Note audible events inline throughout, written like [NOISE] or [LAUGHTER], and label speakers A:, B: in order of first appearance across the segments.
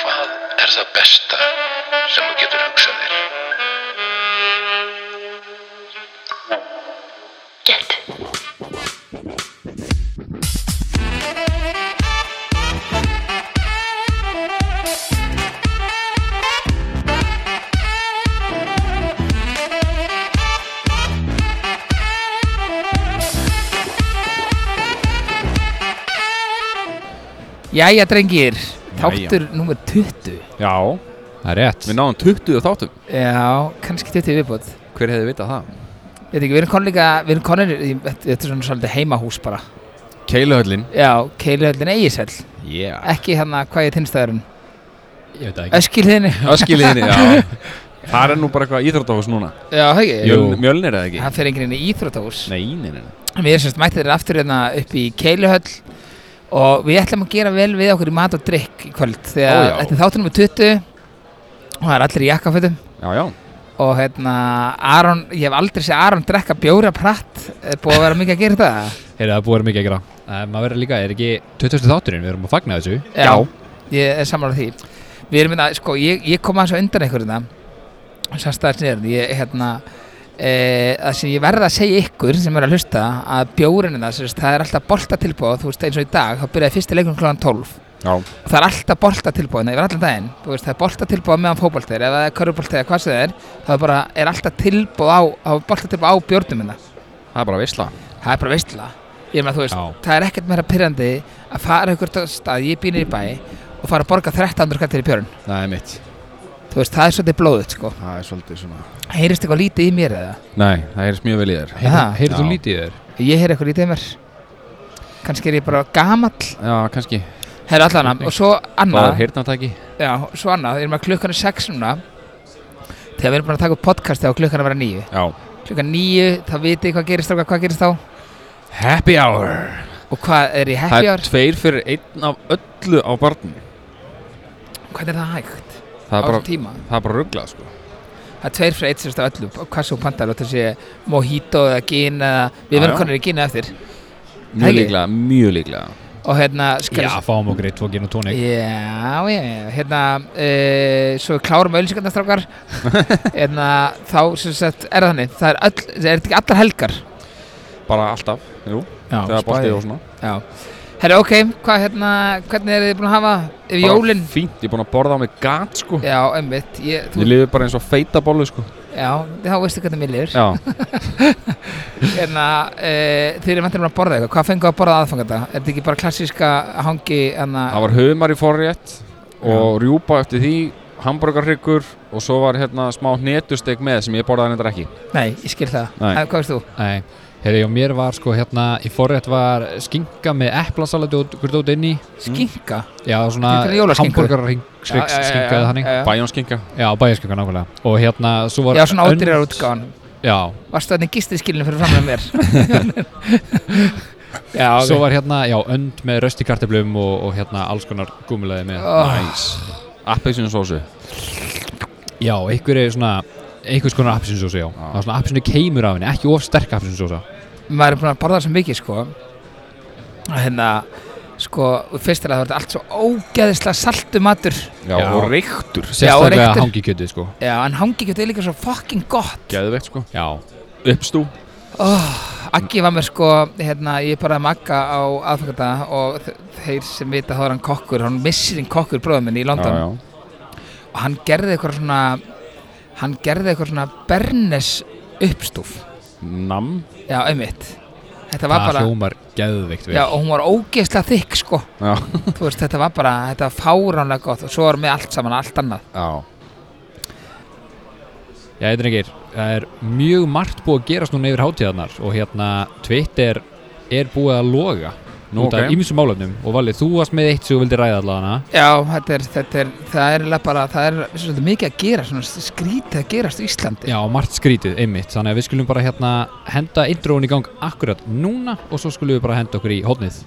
A: Hvað er það besta sem þú getur hugsað þér?
B: Gett.
C: Jæja drengir, þáttur
D: Jæja.
C: númer 20
D: Já,
E: Það er rétt
D: við náðum 20 og þáttum
C: Já, kannski 20 í viðbót
D: Hver hefði vitað það?
C: Ég veit ekki, við erum konur líka, við erum konur í- Þetta þetta er svona svolítið heimahús bara
D: Keiluhöllin
C: Já, keiluhöllin eigisell
D: [LAUGHS] yeah.
C: Ekki hérna, hvað er þinnstæðurinn?
E: Ég veit það ekki
C: Öskilðinni
D: Öskiliðinni, já [LAUGHS] Það er nú bara eitthvað íþróttahús núna
C: Já, hegi
E: Jú.
D: Mjöl, Mjölnir eða ekki?
C: Hann fer enginn inn í íþrótahús
D: Nei, nei, nei, nei.
C: Við erum semst mættir aftur hérna upp í keiluhöll Og við ætlum að gera vel við okkur í mat og drikk í kvöld Þegar
D: Ó, já.
C: þetta er þáttur nummer 20 Og það er allir í jakkafötum
D: Já, já
C: Og hérna, Aron, ég hef aldrei séð Aron drekka bjóra pratt Er búið að vera mikið að gera það?
E: Heyrðu, það er búið að vera mikið að gera uh, Maður verður líka, er ekki 20. þátturinn, við erum að fagna þessu
C: Já, ég er sammála því Við erum hérna, sko, ég, ég kom aðeins á undan ykkur hérna Sannstæðis niður Ég, hérna e, Það sem ég verð að segja ykkur sem eru að hlusta Að bjórinu það, sérst, það er alltaf bolta tilbúið Þú veist, eins og í dag, þá byrjaði fyrsti leikurinn kl. 12
D: Já,
C: Og það er alltaf bolta tilbúið, það er allan daginn Þú veist, það er bolta tilbúið meðan fótbolt er Ef það er körfubolt eða hvað sem það er Það er bara, er alltaf tilbúið á, á bolta tilbúið á bjórnum hérna
D: það er bara veisla
C: það er bara veistla ég meina þú veist,
E: Já.
C: það er ekkert meira pyrrandi að fara ykkur stað, ég býnir í bæ og fara að borga 1300 skattir í björn
D: Það er mitt
C: þú veist, það er svolítið blóðut sko
D: Það er svolítið svona
C: heyrist eitthvað lítið í mér eða
D: Nei, það heyrðist mjög vel í þér
E: Heyrðu,
C: Ha?
E: heyrðu þú
D: Já.
E: lítið í þér?
C: ég heyri eitthvað lítið í mér kannski er ég bara gamall
D: Já, kannski
C: heyrðu allan að, og svo
D: Það er
C: annað
D: heyrnatæki
C: já, svo annað, erum að klukkan er 6 núna þegar við erum búin að taka upp podcast þegar klukkan er að vera 9
D: Já
C: klukkan 9, þá vitið hvað gerist þá hvað gerist þá
D: Happy hour
C: og hvað er í
D: Það
C: happy
D: er
C: hour,
D: tveir fyrir einn af öllu á barnum
C: hvernig er það hægt
D: Það
C: á
D: er bara,
C: þessum tíma
D: það er bara rugglað sko
C: Það er tveir fyrir eitt sérst af öllu, hvað svo pantar þetta sé mojito eða gin eða við
D: Já,
C: verðum
D: já.
C: konar í gin eftir
D: Mjög
C: Ekki?
D: líklega, mjög líklega
C: og hérna skal-
E: Já, fáum okkur eitt, tvo gin og tónik
C: já, já, já, hérna e, svo við klárum
D: [LAUGHS]
C: auðlýsingarnastrákar hérna þá sem sagt er það þannig, það er, öll, er þetta ekki allar helgar
D: Bara alltaf, jú,
C: Já,
D: þegar boltið og svona
C: Já, herra ok, hvað hérna hvernig er þið búin að hafa yfir
D: Bara
C: jólin
D: Fínt, ég er búin að borða á mig gat sko
C: Já, einmitt, ég, þú,
D: Ég lifi bara eins og feita bollu sko
C: já, þá veistu hvernig mér lifir
D: Já,
C: Hérna, e, þið eru vantilega að borða eitthvað, hvað fengu að borða aðfangata? Er þetta ekki bara klassíska hangi, hérna,
D: það var humar í forrétt og rjúpa eftir því hamburgarhryggur og svo var hérna smá hnetusteg með sem ég borðaði nefndar ekki
C: nei, ég skil það,
D: Nei.
C: En, hvað veist þú?
E: Nei, heyrðu, og mér var sko hérna Í forrétt var skinka með eplasalat og grútótt inni
C: Skinka?
D: Mm.
E: Já, svona
C: Þetta er jólaskinka. Já, já, já, já,
E: hamburgararskinkað þannig
C: já, já.
D: Bæjónskinga
E: Já, bæjarskinka nákvæmlega Og hérna, svo var
C: Já, svona
E: önn-
C: ódýrar útgáðan
E: Já,
C: Varstu þannig gistið skilinu fyrir fram með
D: [LAUGHS]
C: mér Já, ok
E: svo var hérna, já, önd með röstikarteblum og, og hérna alls konar gúmulaði með
C: oh,
D: Nice Appelsinu sósu
E: Já, einhver er svona einhvers konar appsinsósa, já. Það var svona appsinu keimur af henni, ekki of sterk appsinsósa.
C: Maður er búin að borða svo mikið, sko að Hérna, sko, fyrst er að það var allt svo ógeðislega saltu matur
D: Já,
E: Já.
D: og reyktur
E: Sérstaklega
C: reyktur.
E: hangi kjötið, sko.
C: Já, en hangi getur líka svo fucking gott
D: Geðveikt sko
E: Já,
D: Uppstú
C: Aggi var mér, sko, hérna, ég borðaði magga á aðfakata og þe- þeir sem vita þá er hann kokkur, hann missir hinn kokkur bróðum minn í London
D: já,
C: og hann gerði eitthvað svona hann gerði eitthvað svona Bernes uppstúf
D: já Nam
C: Já, einmitt Þetta var
E: það
C: bara
E: hljómar geðveikt vel.
C: Já, og hún var ógeðslega þykk, sko
D: Já,
C: Þú veist, þetta var bara, þetta var fáránlega gott og svo var með allt saman, allt annað
D: já.
E: Já, þetta er ekki, það er mjög margt búið að gerast núna yfir hátíðarnar og hérna Twitter er búið að loga
D: Nú,
E: út af
D: ok.
E: ímsum málefnum og Valið, þú varst með eitt sem þú vildi ræða allavega
C: Já, þetta er, þetta er, það er eiginlega bara, það er svolítið mikið að gera, svona skrítið að gerast í Íslandi
E: Já, margt skrítið, einmitt, þannig að við skulum bara hérna henda introun í gang akkurat núna og svo skulum við bara henda okkur í hóðnið.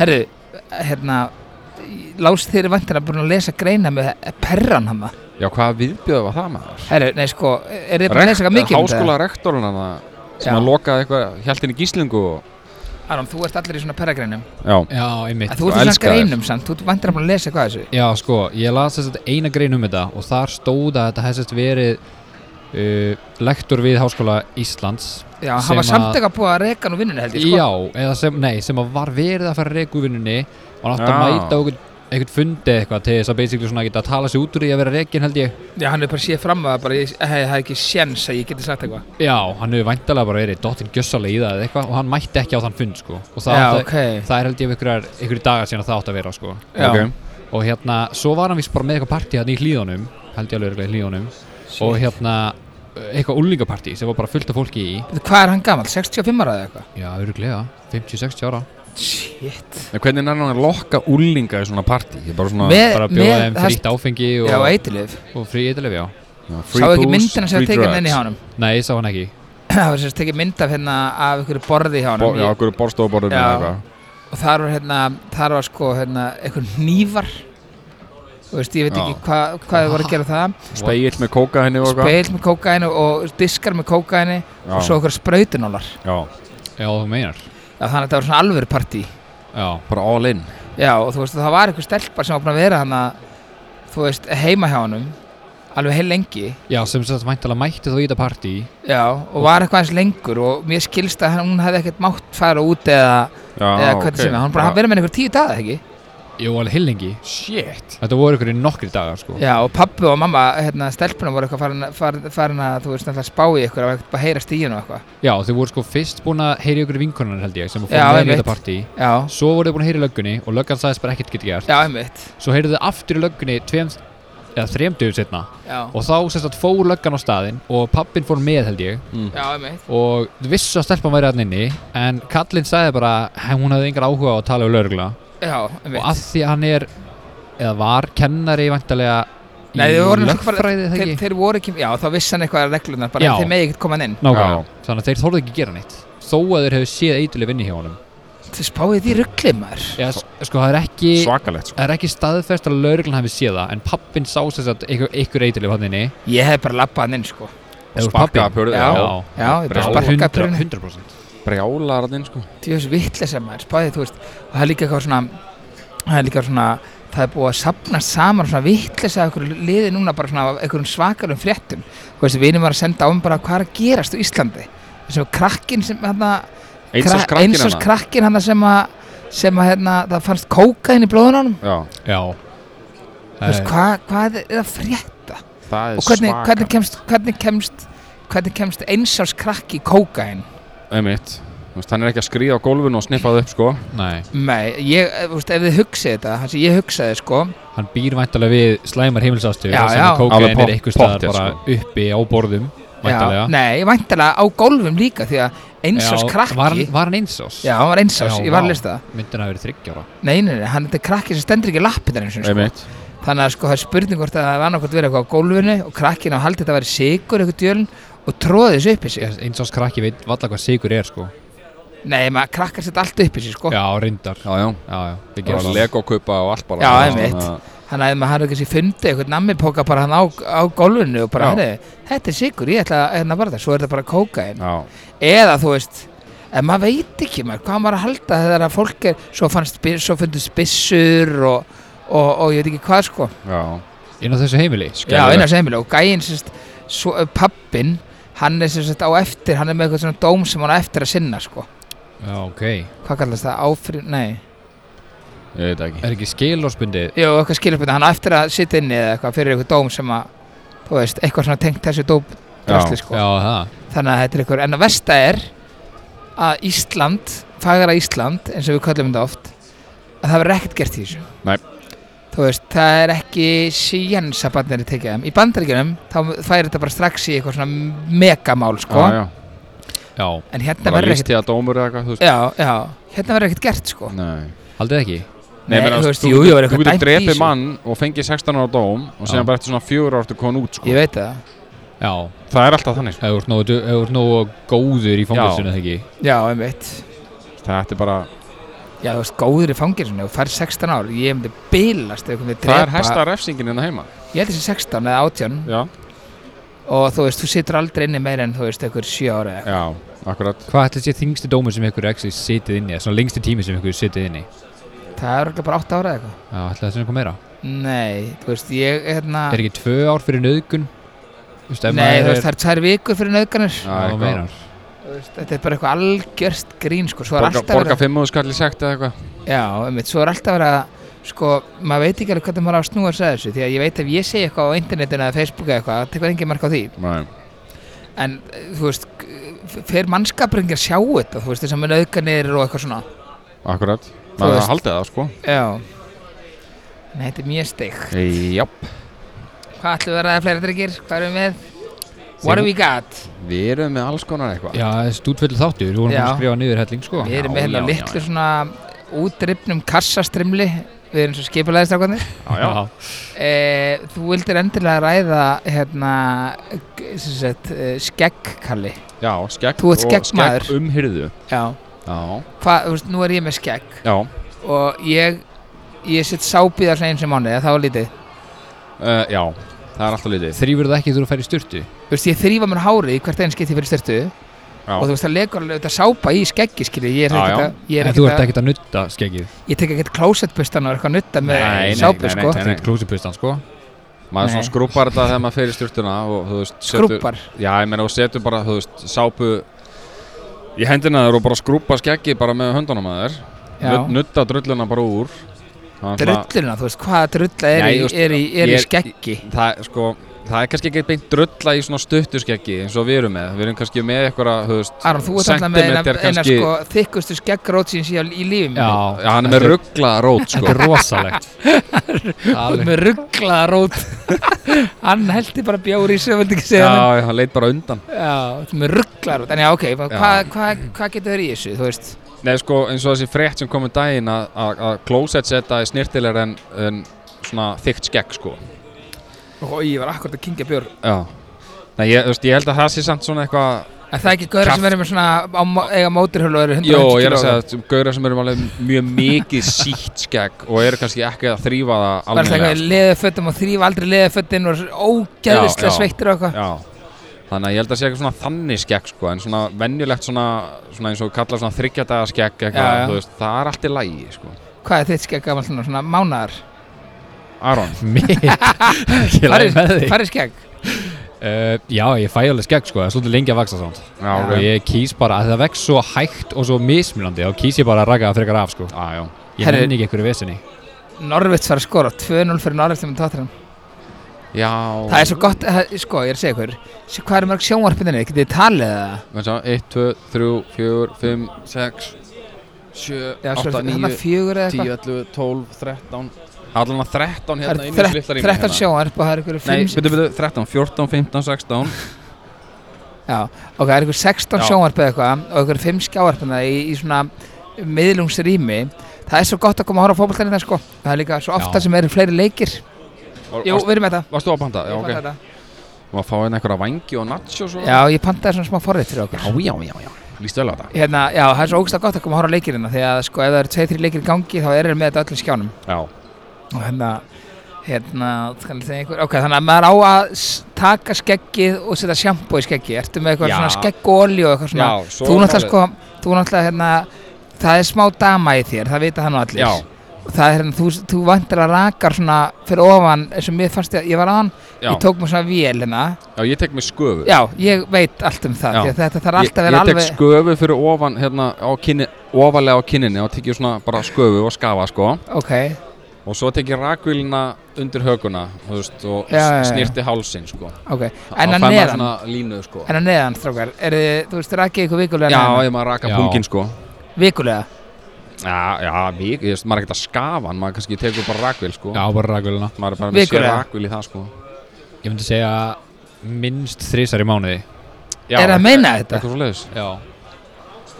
C: herru, hérna Lás þeir eru vantilega búin að lesa greina með perran hann
D: Já, hvaða viðbjöð var það maður?
C: Herru, nei sko, er þið búin að lesa eitthvað mikið um
D: Háskóla rektorinn hann sem
C: Já.
D: að lokaði eitthvað, held henni í gíslingu og,
C: það? Aron, þú ert allir í svona perragreinum
D: Já,
E: Já, einmitt
C: En Þú ert
D: Þú
C: í svona
D: elskar þær.
C: greinum samt, þú ert vantilega búin að lesa eitthvað af þessu
E: Já, sko, ég las þess að eina grein um þetta og þar stóð að þetta hefði sérst verið uh, lektor við Háskóla Íslands
C: Já,
E: Sem
C: hann var
E: að-
C: samt eitthvað búið að reka nú vinnunni held ég sko
E: Já, eða sem, nei, sem að var verið að fara að reka úr vinnunni og hann átti að
D: Já.
E: mæta á einhvern- einhvern fundi eitthvað til þess að basically svona geta að tala sig út úr því að vera rekin held ég
C: Já, hann er bara séð fram að það bara, ég hef hef ekki séns að ég geti sagt eitthvað
E: Já, hann hefur væntalega bara verið dottin gjössalega í það eða eitthvað og hann mætti ekki á þann fund sko og það,
C: Já,
E: það,
C: ok
E: það er held ég ykkur, ykkur dagar síðan að það átti að vera sko
C: Já.
D: ok
E: og hérna, svo var hann vist bara með eitthvað partí hérna í hlíðunum held ég alveg örugglega í hlíðunum og hérna, eitthvað úlingapartí sem var bara fullt af fólki í
C: Hvað er hann gamall? 65 ára eða eitthvað?
E: Já, öruglega, 50-60 ára
C: Shit
D: En hvernig nær hann að lokka úlinga í svona partí? Ég bara svona
C: Með-
E: bara
C: Eh,
E: bjóða
C: með-
E: þeim
C: það-
E: frítt áfengi og,
C: Já, eitilif
E: og frí eitthvað, já
D: já, free
C: Sá ekki
D: booze,
C: myndina sem
D: free
C: er tekið
D: drugs.
C: inn í hánum
E: Nei, ég sá hann ekki
C: [CLEARS THROAT] Það var sérst tekið mynd af hérna af ykkur borði hjá
D: Bo-
C: hánum
D: Já, okkur hérna. borstofuborðinu
C: Já.
D: eða eitthvað
C: og þar var hérna þar var sko hérna einhver hnífar þú veist, ég veit
D: Já.
C: ekki hvað hva þau voru að gera það
D: Spegill með kóka hérna henni og eitthvað
C: speil með kókainu og diskar með kókainu og svo
D: Já,
C: okkur sprautunólar
D: já,
E: Já, þú meinar
C: já, þannig að þetta var svona alvöru partí
E: Já,
D: bara all in
C: já, og þú veist, það var einhver stelpar sem var búin að vera hann þú veist, heima hjá hánum alveg heil lengi
E: já sem sagt væntalega mætti þá í þetta partí
C: já, og var eitthvað eins lengur og mér skilst að hún hefði ekkert mátt fara út eða,
D: Já,
C: eða hvernig
D: ok.
C: sem er, hann bara verið með einhver tíu daga, ekki?
E: Jú, alveg hillingi
D: Shit
E: Þetta voru ykkur í nokkri dagar, sko
C: Já, og pabbi og mamma, hérna, stelpunum voru eitthvað farin, farin, farin að, þú veist, náttúrulega spá í ykkur og eitthvað bara heyra stíðin og eitthvað.
E: Já, þau voru sko fyrst búin að heyri ykkur í vinkonan held ég sem fór
C: Já,
E: með í
C: einmitt.
E: þetta partí
C: Já,
E: Svo voru þau búin að heyri löggunni og löggan sagðist bara ekkert geta gert
C: já, einmitt.
E: Svo heyrðu þau aftur í löggunni tveim eða þrem dögum setna
C: Já,
E: og þá sem sagt fór löggan á staðinn og pappin fór með held ég
C: já, einmitt.
E: og vissu að stelpan væri hann inni en kallinn sagði bara "Hæ, hún hafði engar áhuga á að tala við lögregla
C: Já,
E: og
C: einmitt.
E: að því að hann er eða var kennari vantarlega í
C: Nei, þau voru náttúrulega
E: lögfræði
C: Þeir,
E: þegar
C: þeir voru ekki, já, þá vissi hann eitthvað að reglunar, bara
E: Já.
C: þeir megi ekkert koma hann inn.
E: Nákvæmlega, þannig að þeir þorðu ekki að gera neitt þó að þeir hefðu séð eituleg vinni hjá honum
C: Þeir spáði því ruglið maður.
E: Já, s- sko, það er ekki
D: Svakalegt sko
E: það er ekki staðfest að lauruglan hafi séð það en pappin sá sér að ykkur, ykkur eituleg hann inni
C: Ég hef bara labbað hann inn, sko.
E: Eða úr
D: Sparkaði
E: pabbinn.
D: pörðu,
C: Já.
D: já
C: Já, ég bara
D: Brjál.
C: sparkaði
E: Hundra-
C: purinu.
E: 100%
D: Brjálar hann inn sko
C: Því þessu vitleysa maður, spáði þú veist, og það er líka eitthvað svona, það er líka svona, það er búið að sapna saman svona vitleysa af einhverju liði núna bara svona af einhverjum svakalum fréttum. Þú veist, vinum var að senda á mig bara hvað er að gerast á Íslandi. Þessum krakkinn sem hérna,
D: Eins og
C: kra- eins
D: krakkinn
C: og krakkinn hérna sem að, sem að hérna, það fannst kókaðin í blóðunum.
D: Já,
E: Já
C: Þú
E: Eh,
C: veist, hvað, hvað er að frétta?
D: það er
C: Og hvernig,
D: svakalegt
C: hvernig kemst, hvernig kemst, hvernig kemst eins og krakki í kókaðin?
D: Einmitt Þú veist, hann er ekki að skrýða á gólfinu og snippa það upp sko
E: Nei,
C: Nei, ég, eh, þú veist, ef þið hugsið þetta, það sem ég hugsaði, sko,
E: hann býr væntalega við slæmar heimilsastu
C: Já,
E: sem
C: já.
E: að kókaðin
D: Alveg
E: er
D: pott-
E: einhver staðar
D: pottþétt,
E: bara uppi á borðum
C: sko. Já,
E: væntalega
C: nei, væntalega á gólfum líka því að einsás
E: Já,
C: krakki
E: Var hann, var hann einsás?
C: Já, hann var einsás,
E: Já,
C: ég var
E: vá.
C: að lista það
E: Myndin hafi verið þryggjára
C: Nei, nei, nei, hann þetta er krakki sem stendur ekki lappið eins og sko.
D: Einmitt
C: Þannig að sko það er spurning hvort að það var nákvæmt verið eitthvað á gólfinu og krakkin á haldið þetta að vera sigur eitthvað djölun og tróði þessu upp í sig
E: Einsás krakki veit valla hvað sigur er sko
C: Nei, maður krakkar sér allt upp í sig sko
E: Já, reyndar
D: Já, já
E: Já, já, við
D: Það
E: gerum
D: var legokaupa og allt bara
C: Já,
D: Þannig
C: einmitt.
D: að-
C: Þannig að ef maður hafði kannski fundið eitthvað nammipoka bara hann á, á gólfinu og bara,
D: Já.
C: herri, þetta er sigur, ég ætla að hérna bara það, svo er þetta bara kókain
D: Já,
C: eða þú veist en maður veit ekki maður, hvað maður að halda þegar að fólk er, svo fannst bi- svo fundu spissur og, og, og ég veit ekki hvað sko
D: já
E: Inn á þessu heimili
C: já,
D: Skelfilegt.
C: einar semil og gæinn sérst, svo, pappin, hann er sérst á eftir hann er með eitthvað svona dóm sem hann á eftir að sinna sko,
E: Já, ok
C: hvað kallast það, áfri nei,
D: Ég veit ekki
E: Er ekki skilorsbundið?
C: jú, eitthvað skilupinu hann á eftir að sitja inni eða eitthvað fyrir eitthvað dóm sem að, þú veist, eitthvað svona tengt þessu dóm drasli sko
E: Já, það
C: þannig að þetta er eitthvað, en að versta er að Ísland, fagra Ísland eins og við kallum þetta oft að það verður ekkert gert í þessu
D: Nei.
C: þú veist, það er ekki síjens að bandinni tekið þeim, í bandaríkjunum þá færi þetta bara strax í eitthvað svona megamál sko,
D: Já, já
E: Já,
C: en hérna
D: Það var
C: verður
D: líst
C: ekkert
D: í að dómur eða eitthvað, þú veist
C: já, já, hérna verður ekkert gert sko
D: Nei
E: haldið ekki?
D: Nei, menn,
C: þú veist,
D: þú-
C: jú, jú, verður
D: Þú
C: eitthvað
D: getur
C: dæmt í
D: drepið
C: þessu
D: mann og fengið 16 ára dóm og síðan
E: Já.
D: bara eftir svona fjögur ártu konu út sko.
C: ég veit það,
E: Já,
D: Það er alltaf þannig sko.
E: ef þú ert nógu du- ef þú ert nógu góður í fangilsinu þegar ekki
C: já, einmitt
D: Þetta er sko. bara
C: já, þú veist, góður í fangilsinu og fær 16 ár, ég myndi bilast ef einhvern veginn
D: Það er hæsta refsingin hérna heima
C: ég held þessi 16 eða 18
D: Já,
C: og þú veist, þú situr aldrei inni meira en þú veist, einhver 7 ára eða eitthvað.
D: já, akkurat
E: Hvað ætli sé þingsti dómur sem ykkur actually sitið inni, eða svona lengsti tími sem ykkur sitið inni?
C: það er örugglega bara 8 ára eða eitthvað
E: Já, ætli það sé eitthvað meira?
C: Nei, þú veist, ég, hérna
E: Er ekki tvö ár fyrir nöðgun? Þú veist, ef
C: Nei, þú
E: maður
C: veist, það er tvær vikur fyrir nöðganir
D: Já,
E: Já,
D: eitthvað.
E: meinar.
C: Þú veist, Þetta er bara eitthvað algjörst grín, sko Svo er
D: Borga,
C: alltaf
D: borga
C: verið
D: fimmu skall í sekt eða eitthvað
C: Já, um svo er alltaf verið að Sko, maður veit ekki alveg hvernig maður á að snúa sér að þessu Því að ég veit ef ég segi eitthvað á internetinu eða Facebooku eða eitthvað, það tekur engin mark á því
D: Nei,
C: En, eh, þú veist, g- fer mannskapringi að sjá þetta Þú veist, þess að með nöðganir og eitthvað svona
D: akkurat
C: Þú
D: Það
C: veist.
D: haldið það sko
C: Já Nei, þetta er mjög steik
D: Jáp,
C: Hvað ætlum við að ræða fleiri drikkir? Hvað erum við með? What have we got?
D: við erum með alls konar eitthvað
E: Já, það er stútfull þáttur, við vorum
C: Já.
E: búin að skrifa niður helling, sko.
C: Við erum með hérna
D: já,
C: litlu
D: já.
C: svona útripnum kassastrimli Við erum svo
D: [LAUGHS]
C: skipulæðistrákarnir
D: Já, já,
C: e, Þú vildir endilega ræða hérna g- sem sagt, e, skeggkalli
D: já skegg
C: Þú ert
D: og
C: skeggmaður.
D: skegg um hyrðu
C: Já
D: Já,
C: Hva, þú veist, Nú er ég með skegg
D: já
C: og ég ég sitt sápið af hrein sem mánuði það var lítið
D: Uh, já, það er alltaf litið
E: Þrýfur það ekki þú að færi styrtu?
C: Þú veist, ég þrýfa mér hárið í hvert einn skipti fyrir styrtu og þú veist, það legur alveg þetta sápa í skeggi skilji, ég er
D: Já,
C: ekkert
D: já.
C: að ég, er
E: En þú ert
C: ekkert
E: ekkert að nutta skeggið,
C: að- ég tek ekkert klósettbustan og er eitthvað að nutta með
D: Nei, nei,
C: sápu
D: nei, nei,
C: sko
D: nei,
E: það er ekkert klósipustan, sko.
D: Maður
C: Nei.
D: svona skrúpar þetta þegar maður fer í styrtuna og þú veist setur-
C: Skrúbbar.
D: Já, ég meina þú setur bara, þú veist, sápu í hendina þér og bara skrúpa skeggi bara með höndunum að þér
C: Já.
D: Nudd- Nudda drulluna bara úr Það er svona-
C: drulluna, þú veist, hvaða drulla er,
D: Nei,
C: í,
D: þú veist,
C: er, í, er í
D: ég-
C: skeggi
D: Það, er, sko, það er kannski ekki beint drulla í svona stuttu skeggi eins og við erum með Við erum kannski með eitthvað, þú veist,
C: Aron, þú ert alltaf með eina,
D: sentimeter
C: eina
D: kannski
C: sko, þykkustu skeggrót sín síðan í lífum
E: Já.
D: Já, hann er með ruggla rót,
E: Þetta
D: sko
E: er rosalegt.
C: [LAUGHS]
E: Alveg.
C: með rugglaða rót
D: [LAUGHS]
C: hann heldur bara bjóri í sig, vildi ekki
D: Já,
C: segja hann
D: já, hann leit bara undan
C: já, þú ert með rugglaða rót en já, ok, hvað hva, hva, hva getur þeir í þessu, þú veist
D: Nei, sko, eins og þessi frétt sem kom um daginn að- að að closet setta er snirtilegar en, en svona þykkt skegg, sko
C: og ég var akkurat að kingja björn
D: Já Nei, ég, þú veist, ég held að það sé samt svona eitthvað
C: en það er ekki gaur sem verður með svona á, mo- eiga móturhjólu og eru 150
D: Jó, ég er
C: kíló.
D: að segja að gauðra sem eru alveg mjög mikið sítt skegg og eru kannski ekki að þrýfa það
C: bara það
D: almennilega
C: eitthvað
D: sko.
C: leðafötum og þrýfa aldrei leðafötin og ógæðislega
D: Já, já.
C: sveittir og eitthvað
D: Já, þannig að ég held að sé eitthvað svona þannig skegg sko, en svona venjulegt svona, svona eins og kalla svona þryggjadaga skegg
C: Já, já.
D: eitthvað, þú veist, það er allt í lægi sko.
C: hvað er þitt skegg gaman svona, svona mánaðar
D: Aron,
E: Mitt. Ég
C: Hvar
E: læg með
C: er-
E: þig.
C: hvar er skegg?
E: Uh, já, ég fæ alveg skegg, sko, það er svolítið lengi að vaksa samt.
D: já,
E: Og
D: ok.
E: ég kýs bara, að það vex svo hægt og svo mismunandi, þá kýs ég bara að raka það frekar af, sko.
D: Já, já,
E: Ég
C: Herri-
E: nenni ekki einhverju vesinni.
C: Norvits var að skora 2-0 fyrir Norvits með Tottenham
D: já
C: Það er svo gott, það, sko ég er að segja ykkur Sjá, Hvað eru mörg sjónvarpinni, getið þið talið það?
D: Veistu, 1, 2, 3, 4, 5, 6, 7,
C: Já,
D: 8,
C: svo er þetta
D: 9,
C: fjögur eða
D: 10,
C: eitthvað
D: 11, 12, 13 Allan að 13
C: Það
D: hérna
C: eru
D: inni í þessu litla
C: þre-
D: rými
C: 13
D: hérna.
C: sjónvarp og það eru ykkur
D: Nei,
C: 5
D: byrju, byrju, 13, 14, 15, 16
C: Já, ok, það eru ykkur 16
D: Já.
C: sjónvarp eða eitthvað og ykkur 5 skjávarpinna í, í svona miðlungsrými Það er svo gott að koma að horfa á fótboltan í það sko Það er líka svo ofta
E: Já.
C: sem eru fleiri leikir
D: Var-
C: Jú,
D: varst-
C: við erum með þetta
D: Varstu að panta? Já,
C: Ég fann
D: ok
C: þetta.
D: Má fá hérna einhverja vangi og nachos og
C: Já, ég pantaði svona smá forrið fyrir okkur
D: já, já, já Lýst vel á þetta
C: Hérna, já, það er svo ógst gott að koma að horfa á leikirina því að sko, ef það eru 2-3 leikir í gangi þá erum við með þetta á öllum skjánum
D: Já
C: og hérna hérna, skal ég segja ykkur, ok, þannig að maður á að s- taka skeggið og setja sjampo í skeggið, ertu með eitthvað
D: Já.
C: svona skegg og olju og eitthvað svona,
D: Já, svo
C: þú
D: er
C: náttúrulega
D: málið.
C: sko, þú náttúrulega hérna það er smá dama í þér, það vita hann og allir
D: Já,
C: og það er hérna, þú, þú vantar að rakar svona fyrir ofan, eins og mér fannst ég, ég var aðan,
D: já,
C: ég tók mér svona vél hérna,
D: já, ég tek mig sköfu
C: já, ég veit allt um það,
D: Já.
C: því að þetta þarf alltaf að
D: Ég,
C: vera
D: ég tek
C: alveg
D: sköfu fyrir ofan, hérna, á kynni, ofalega á kinninni og tek ég svona bara sköfu og skafa, sko
C: ok,
D: Og svo tek ég rakvílina undir höguna, þú veist, og
C: Já, já, já.
D: snýrti hálsinn, sko
C: ok,
D: Þá
C: en
D: fær
C: að
D: maður
C: neðan
D: svona línu, sko
C: en að neðan, strákar, er þið, þú veist, rakið ykkur vikulega
D: Já,
C: neðan?
D: ég maður raka
E: Já.
D: pungin, sko
C: vikulega,
D: Já, já, vík, ég veist, maður er ekkert að skafa hann, maður kannski tekur bara rakvíl, sko
E: Já, bara rakvöluna.
D: Maður er bara með sér
C: Vikulega.
D: rakvíl í það, sko
E: Ég myndi segja minnst þrísar í mánuði.
D: Já,
C: er það að meina þetta?
D: Eitthvað svo leiðis
E: Já.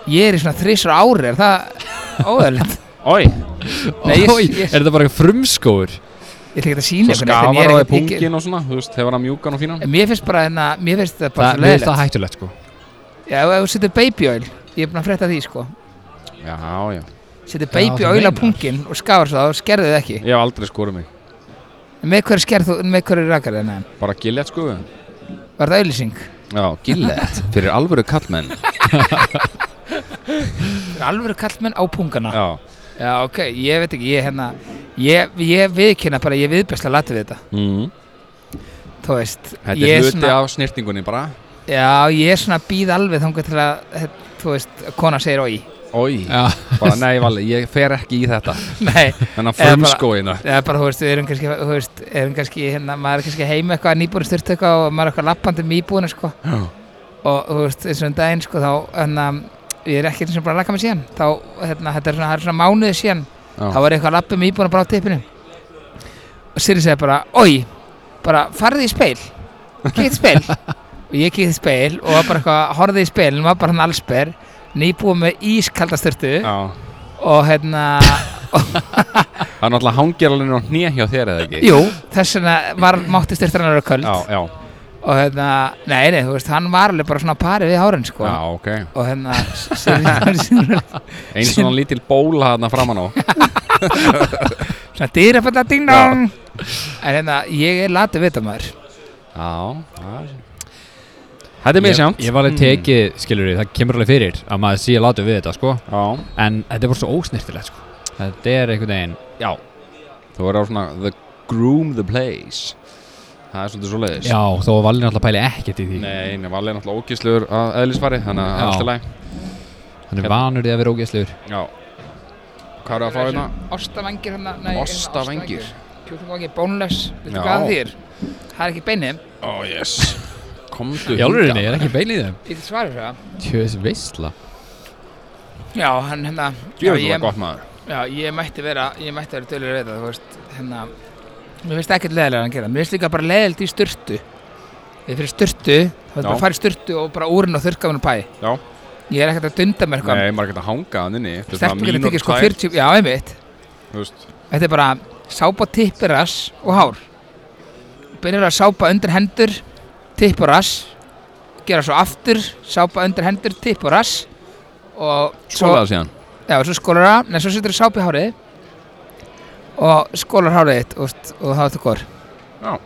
C: Ég er í svona þrísra ári, er
D: [LAUGHS]
C: það óðurlegt?
D: Oi,
C: Nei, ég-
E: Oj,
C: ég-
E: er þetta bara frumskóur?
C: Ég ætla ekki að sína
D: svo
C: ykkur neitt, en ég
D: skafar
C: er
D: á því
C: ekkert- ég-
D: pungin og svona, þú veist, hefur hann mjúkan og fínan
C: En Mér finnst bara hérna, mér finnst þetta bara
E: Það
C: svo
E: mér finnst það
C: leiðilegt
E: hættulegt sko
C: Já, ef þú setur baby oil, ég er búin að frétta því sko
D: Já, já,
C: setja
E: þú
C: baby á
E: meinar.
C: auðla punkin og skafar svo það og skerðu það ekki
D: Ég hef aldrei skorið mig
C: með hverju skerð þú, með hverju rakar það nefn
D: Bara gillett sko Já,
C: var það auðlýsing
D: gillett Fyrir alvöru kallmenn
C: alvöru kallmenn á pungana já.
D: Já,
C: ok, ég veit ekki, ég hérna ég, ég viðkynna bara, ég viðbæsla latið við þetta
D: mm.
C: þú veist,
D: Þetta
C: ég
D: er hluti af snirtingunni bara
C: já, ég er svona býð alveg þangað til að he- þú veist, kona segir
D: [LAUGHS]
C: oi
D: Ói,
E: Já,
D: bara nei vali, ég fer ekki í þetta
C: nei,
D: Þannig að
C: Eða bara-
D: frumskóina
C: eða bara, þú veist, við erum kannski, þú veist, erum kannski hérna, maður er kannski heima eitthvað, nýbúin styrt eitthvað og maður er eitthvað lappandi um íbúinu, sko
D: Já.
C: og þú veist, eins og um daginn, sko, þá hérna, ég er ekki eins og bara að laka mig síðan þá, hérna, þetta er svona, það er svona mánuði síðan
D: Já.
C: þá var eitthvað lappum íbúin að bara á tippinu og Siri segi bara, oi bara farði í speil kíkt í
D: [LAUGHS]
C: speil og ég kíkt í speil og var bara eitthvað, horfði í speil var bara hann allsber, nýbúin með ískalda styrtu
D: Já.
C: og
D: [LAUGHS]
C: hérna
D: Það er náttúrulega hangir alveg á hnið hjá þér eða ekki
C: Jú, þess vegna var mátti styrtarinnar að vera köld
D: Já, já,
C: og hérna, nei, nei, þú veist, hann var alveg bara svona á pari við hárin, sko
D: já, ok
C: og hérna, svona
D: [LAUGHS] Einn svona lítil bóla þarna framan á
C: [LAUGHS] dýrafætta ding-dong en hérna, ég er latið vita maður
D: Já, það er- Þetta er mjög sjámt
E: Ég, ég var alveg tekið, skilur við, það kemur alveg fyrir að maður sé látum við þetta, sko
D: Já,
E: En þetta er bara svo ósnirtilegt, sko Þetta er einhvern veginn
D: já Þú verður á svona The groom the place Það er svolítið svo leiðis
E: Já, þó var Valli náttúrulega pæli ekkert í því
D: Nei, en Valli er náttúrulega ógislegur að eðlisfari Þannig að
E: Já.
D: allt er læg
E: Hann er vanur því að vera ógeðslegur
D: Já Hvað er að fá hérna?
C: Ostavangir hérna, nei, hérna,
D: Ostavangir.
C: Kjúklingavangir, bónless, veitu
D: Já.
C: hvað að þýr það er ekki beinið,
D: Ó, oh, yes Komdu
E: Í alvörunni, ég er ekki beinið í þeim
C: ég til svarið fyrir það
E: Tjöðis veistla
C: Já, hann hérna
D: Ég
C: já,
D: veit
C: ég-
D: það gott maður
C: Já, ég mætti vera, ég mætti vera dölur við það, þú veist, hérna, mér finnst ekkert leðilega að gera, mér finnst líka bara leðilegt í styrtu. Ég fyrir styrtu, þá er
D: Já.
C: bara að fara í styrtu og bara úrin og þurrka mér um pæ.
D: Já.
C: Ég er ekkert að dunda mér eitthvað.
D: Nei, maður getur að hanga hann inni Þetta er svona
C: Stelpum getur
D: mínútur
C: tekið sko
D: tvær,
C: 40, já, einmitt.
D: Þú veist
C: Þetta er bara sápa tippir rass og hár. Byrjar að sápa undir hendur, tippur rass, gera svo aftur, sápa undir hendur, tippur rass og svo
D: Skólaðu síðan
C: Já, svo skólar það, neða, svo setur það sápi hárið og skólar hárið þitt og, og þá ertu góður.
D: Já.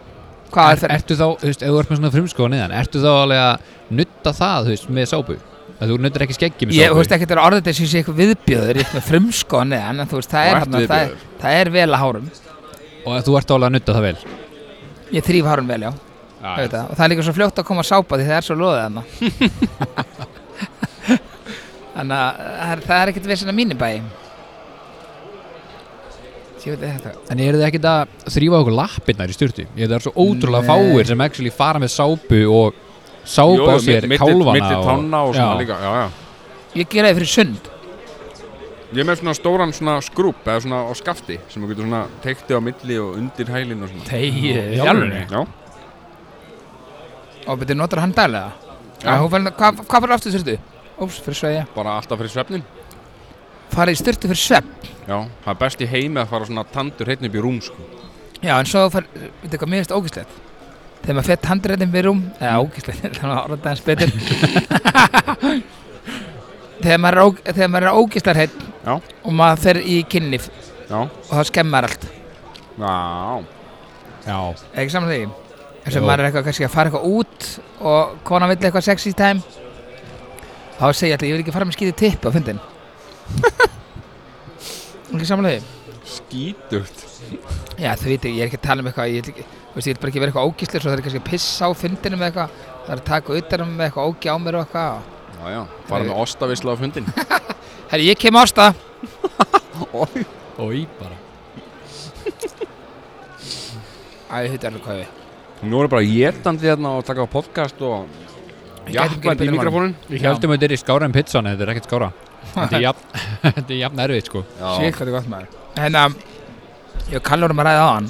C: Hvað er það?
E: Ertu þá, þú veist, ef þú ert með svona frumskóa neðan Ertu þá alveg að nutta það, þú veist, með sápu Að þú nuttir ekki skeggi með
C: Ég, þú
E: sápu
C: veist, ekkert er orðið þess að ég sé eitthvað viðbjöður, ég er með frumskóni, en þú veist, það
D: Og
C: er,
D: ertu
C: hana, það, er, það er vel að hárum.
E: Og að þú ert alveg að nutta það vel
C: Ég þrýf hárun vel, já, auðvitað. Og það er líka svo fljótt að koma að sápa því það er svo loðið hana. Þannig að það er- það er ekkert vissin að mínu bæ. Ég veit þetta.
E: En eru þið ekkert að þrýfa okkur lappirnar í styrtu? Ég það er svo ótrúlega
C: Nei.
E: fáir sem actually fara með sápu og sápa á sér kálvana
D: Mitti tanna og svona
E: Já.
D: líka Já, já
C: Ég gera það fyrir sund.
D: Ég er með svona stóran svona skrúp eða svona á skafti sem þú getur svona teikti á milli og undir hælinn og svona
C: Þegið,
E: í alvörunni?
D: Já,
C: Og betur notar hann daglega? Já, hún fyrir, hvað, hvað fyrir aftur styrtu? Óps, fyrir sveiði.
D: bara alltaf fyrir svefnin
C: Farið í styrtu fyrir svepp.
D: Já, það er best í heimi að fara svona tandur hreitn upp í rúm sko
C: Já, en svo fær, veitu hvað, mér finnst ógæslegt. Þegar maður fett handrættin við rúm, eða ógæslegt, þannig að orða [LAUGHS] það eins betur. [LAUGHS] þegar maður er, óg- þegar maður er ógæslarheitt
D: Já.
C: og maður fer í kynlíf
D: Já,
C: og það skemmar allt.
D: já,
E: Já,
C: Er Ekki saman því? Þess að
E: Jú.
C: maður er eitthvað kannski að fara eitthvað út og kona vill eitthvað sexy time þá segja alltaf, ég vil ekki fara með skítið tipp á [LAUGHS] fundin. ekki saman því?
D: skítugt
C: Já, þú veit, ég er ekki að tala um eitthvað, ég, vil ekki, þú veist, ég vil bara ekki vera eitthvað ógíslir, svo það er kannski að pissa á fundinu með eitthvað, það er að taka utanum með eitthvað ógi á mér og eitthvað.
D: Já, já, bara með ostavisla á fundin
C: Herri, ég kem ásta.
E: og í bara
C: Æ, þetta er alveg hvað við.
D: [LAUGHS] Nú erum bara étandi þérna og taka á podcast og
C: Ég gæti ekki
D: jakkandi
C: verið
D: í
C: betra
D: mikrofónin
E: Við heldum um að þetta er í skára en pizza en þetta er ekkert skára Þetta er jafn, [LAUGHS] þetta er jafn erfið sko
C: Svík, hvað er gott maður. Hérna, ég og Kallur um að ræða á hann.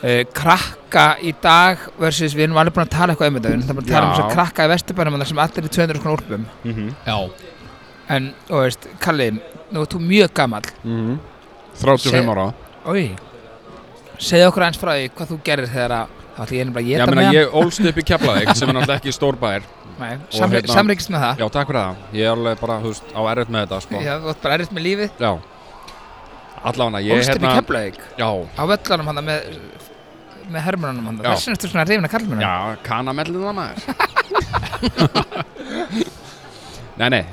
C: Uh, krakka í dag versus, við erum alveg búin að tala eitthvað um þetta, við erum búin að tala um þess
D: Já.
C: að krakka í vesturbænum þar sem allir er í 200 konar úlpum.
E: Já,
C: En, þú veist, Kalli, nú ert þú mjög gamall.
D: 35 ára
C: Oi. Segðu okkur eins frá því hvað þú gerir þegar að það þá ætla ég nefnilega að
D: Já,
C: geta
D: meina,
C: með
D: ég ólst upp í Keflavík sem er náttúrulega ekki stór [LAUGHS] bær
C: hann
D: og hérna-
C: Samri- samrýkst með það
D: Já, takk fyrir það, ég er alveg bara, þú veist, á erfitt með þetta, sko
C: Já, þú ætti bara erist með lífið
D: Já, allavega, ég hérna-
C: Ólst upp í Keflavík
D: Já,
C: á völlunum hann með með hermurunum hann
D: Já.
C: þessin eftir svona reyfina kallmurunum
D: já, kanamellin það maður [LAUGHS] Nei, nei,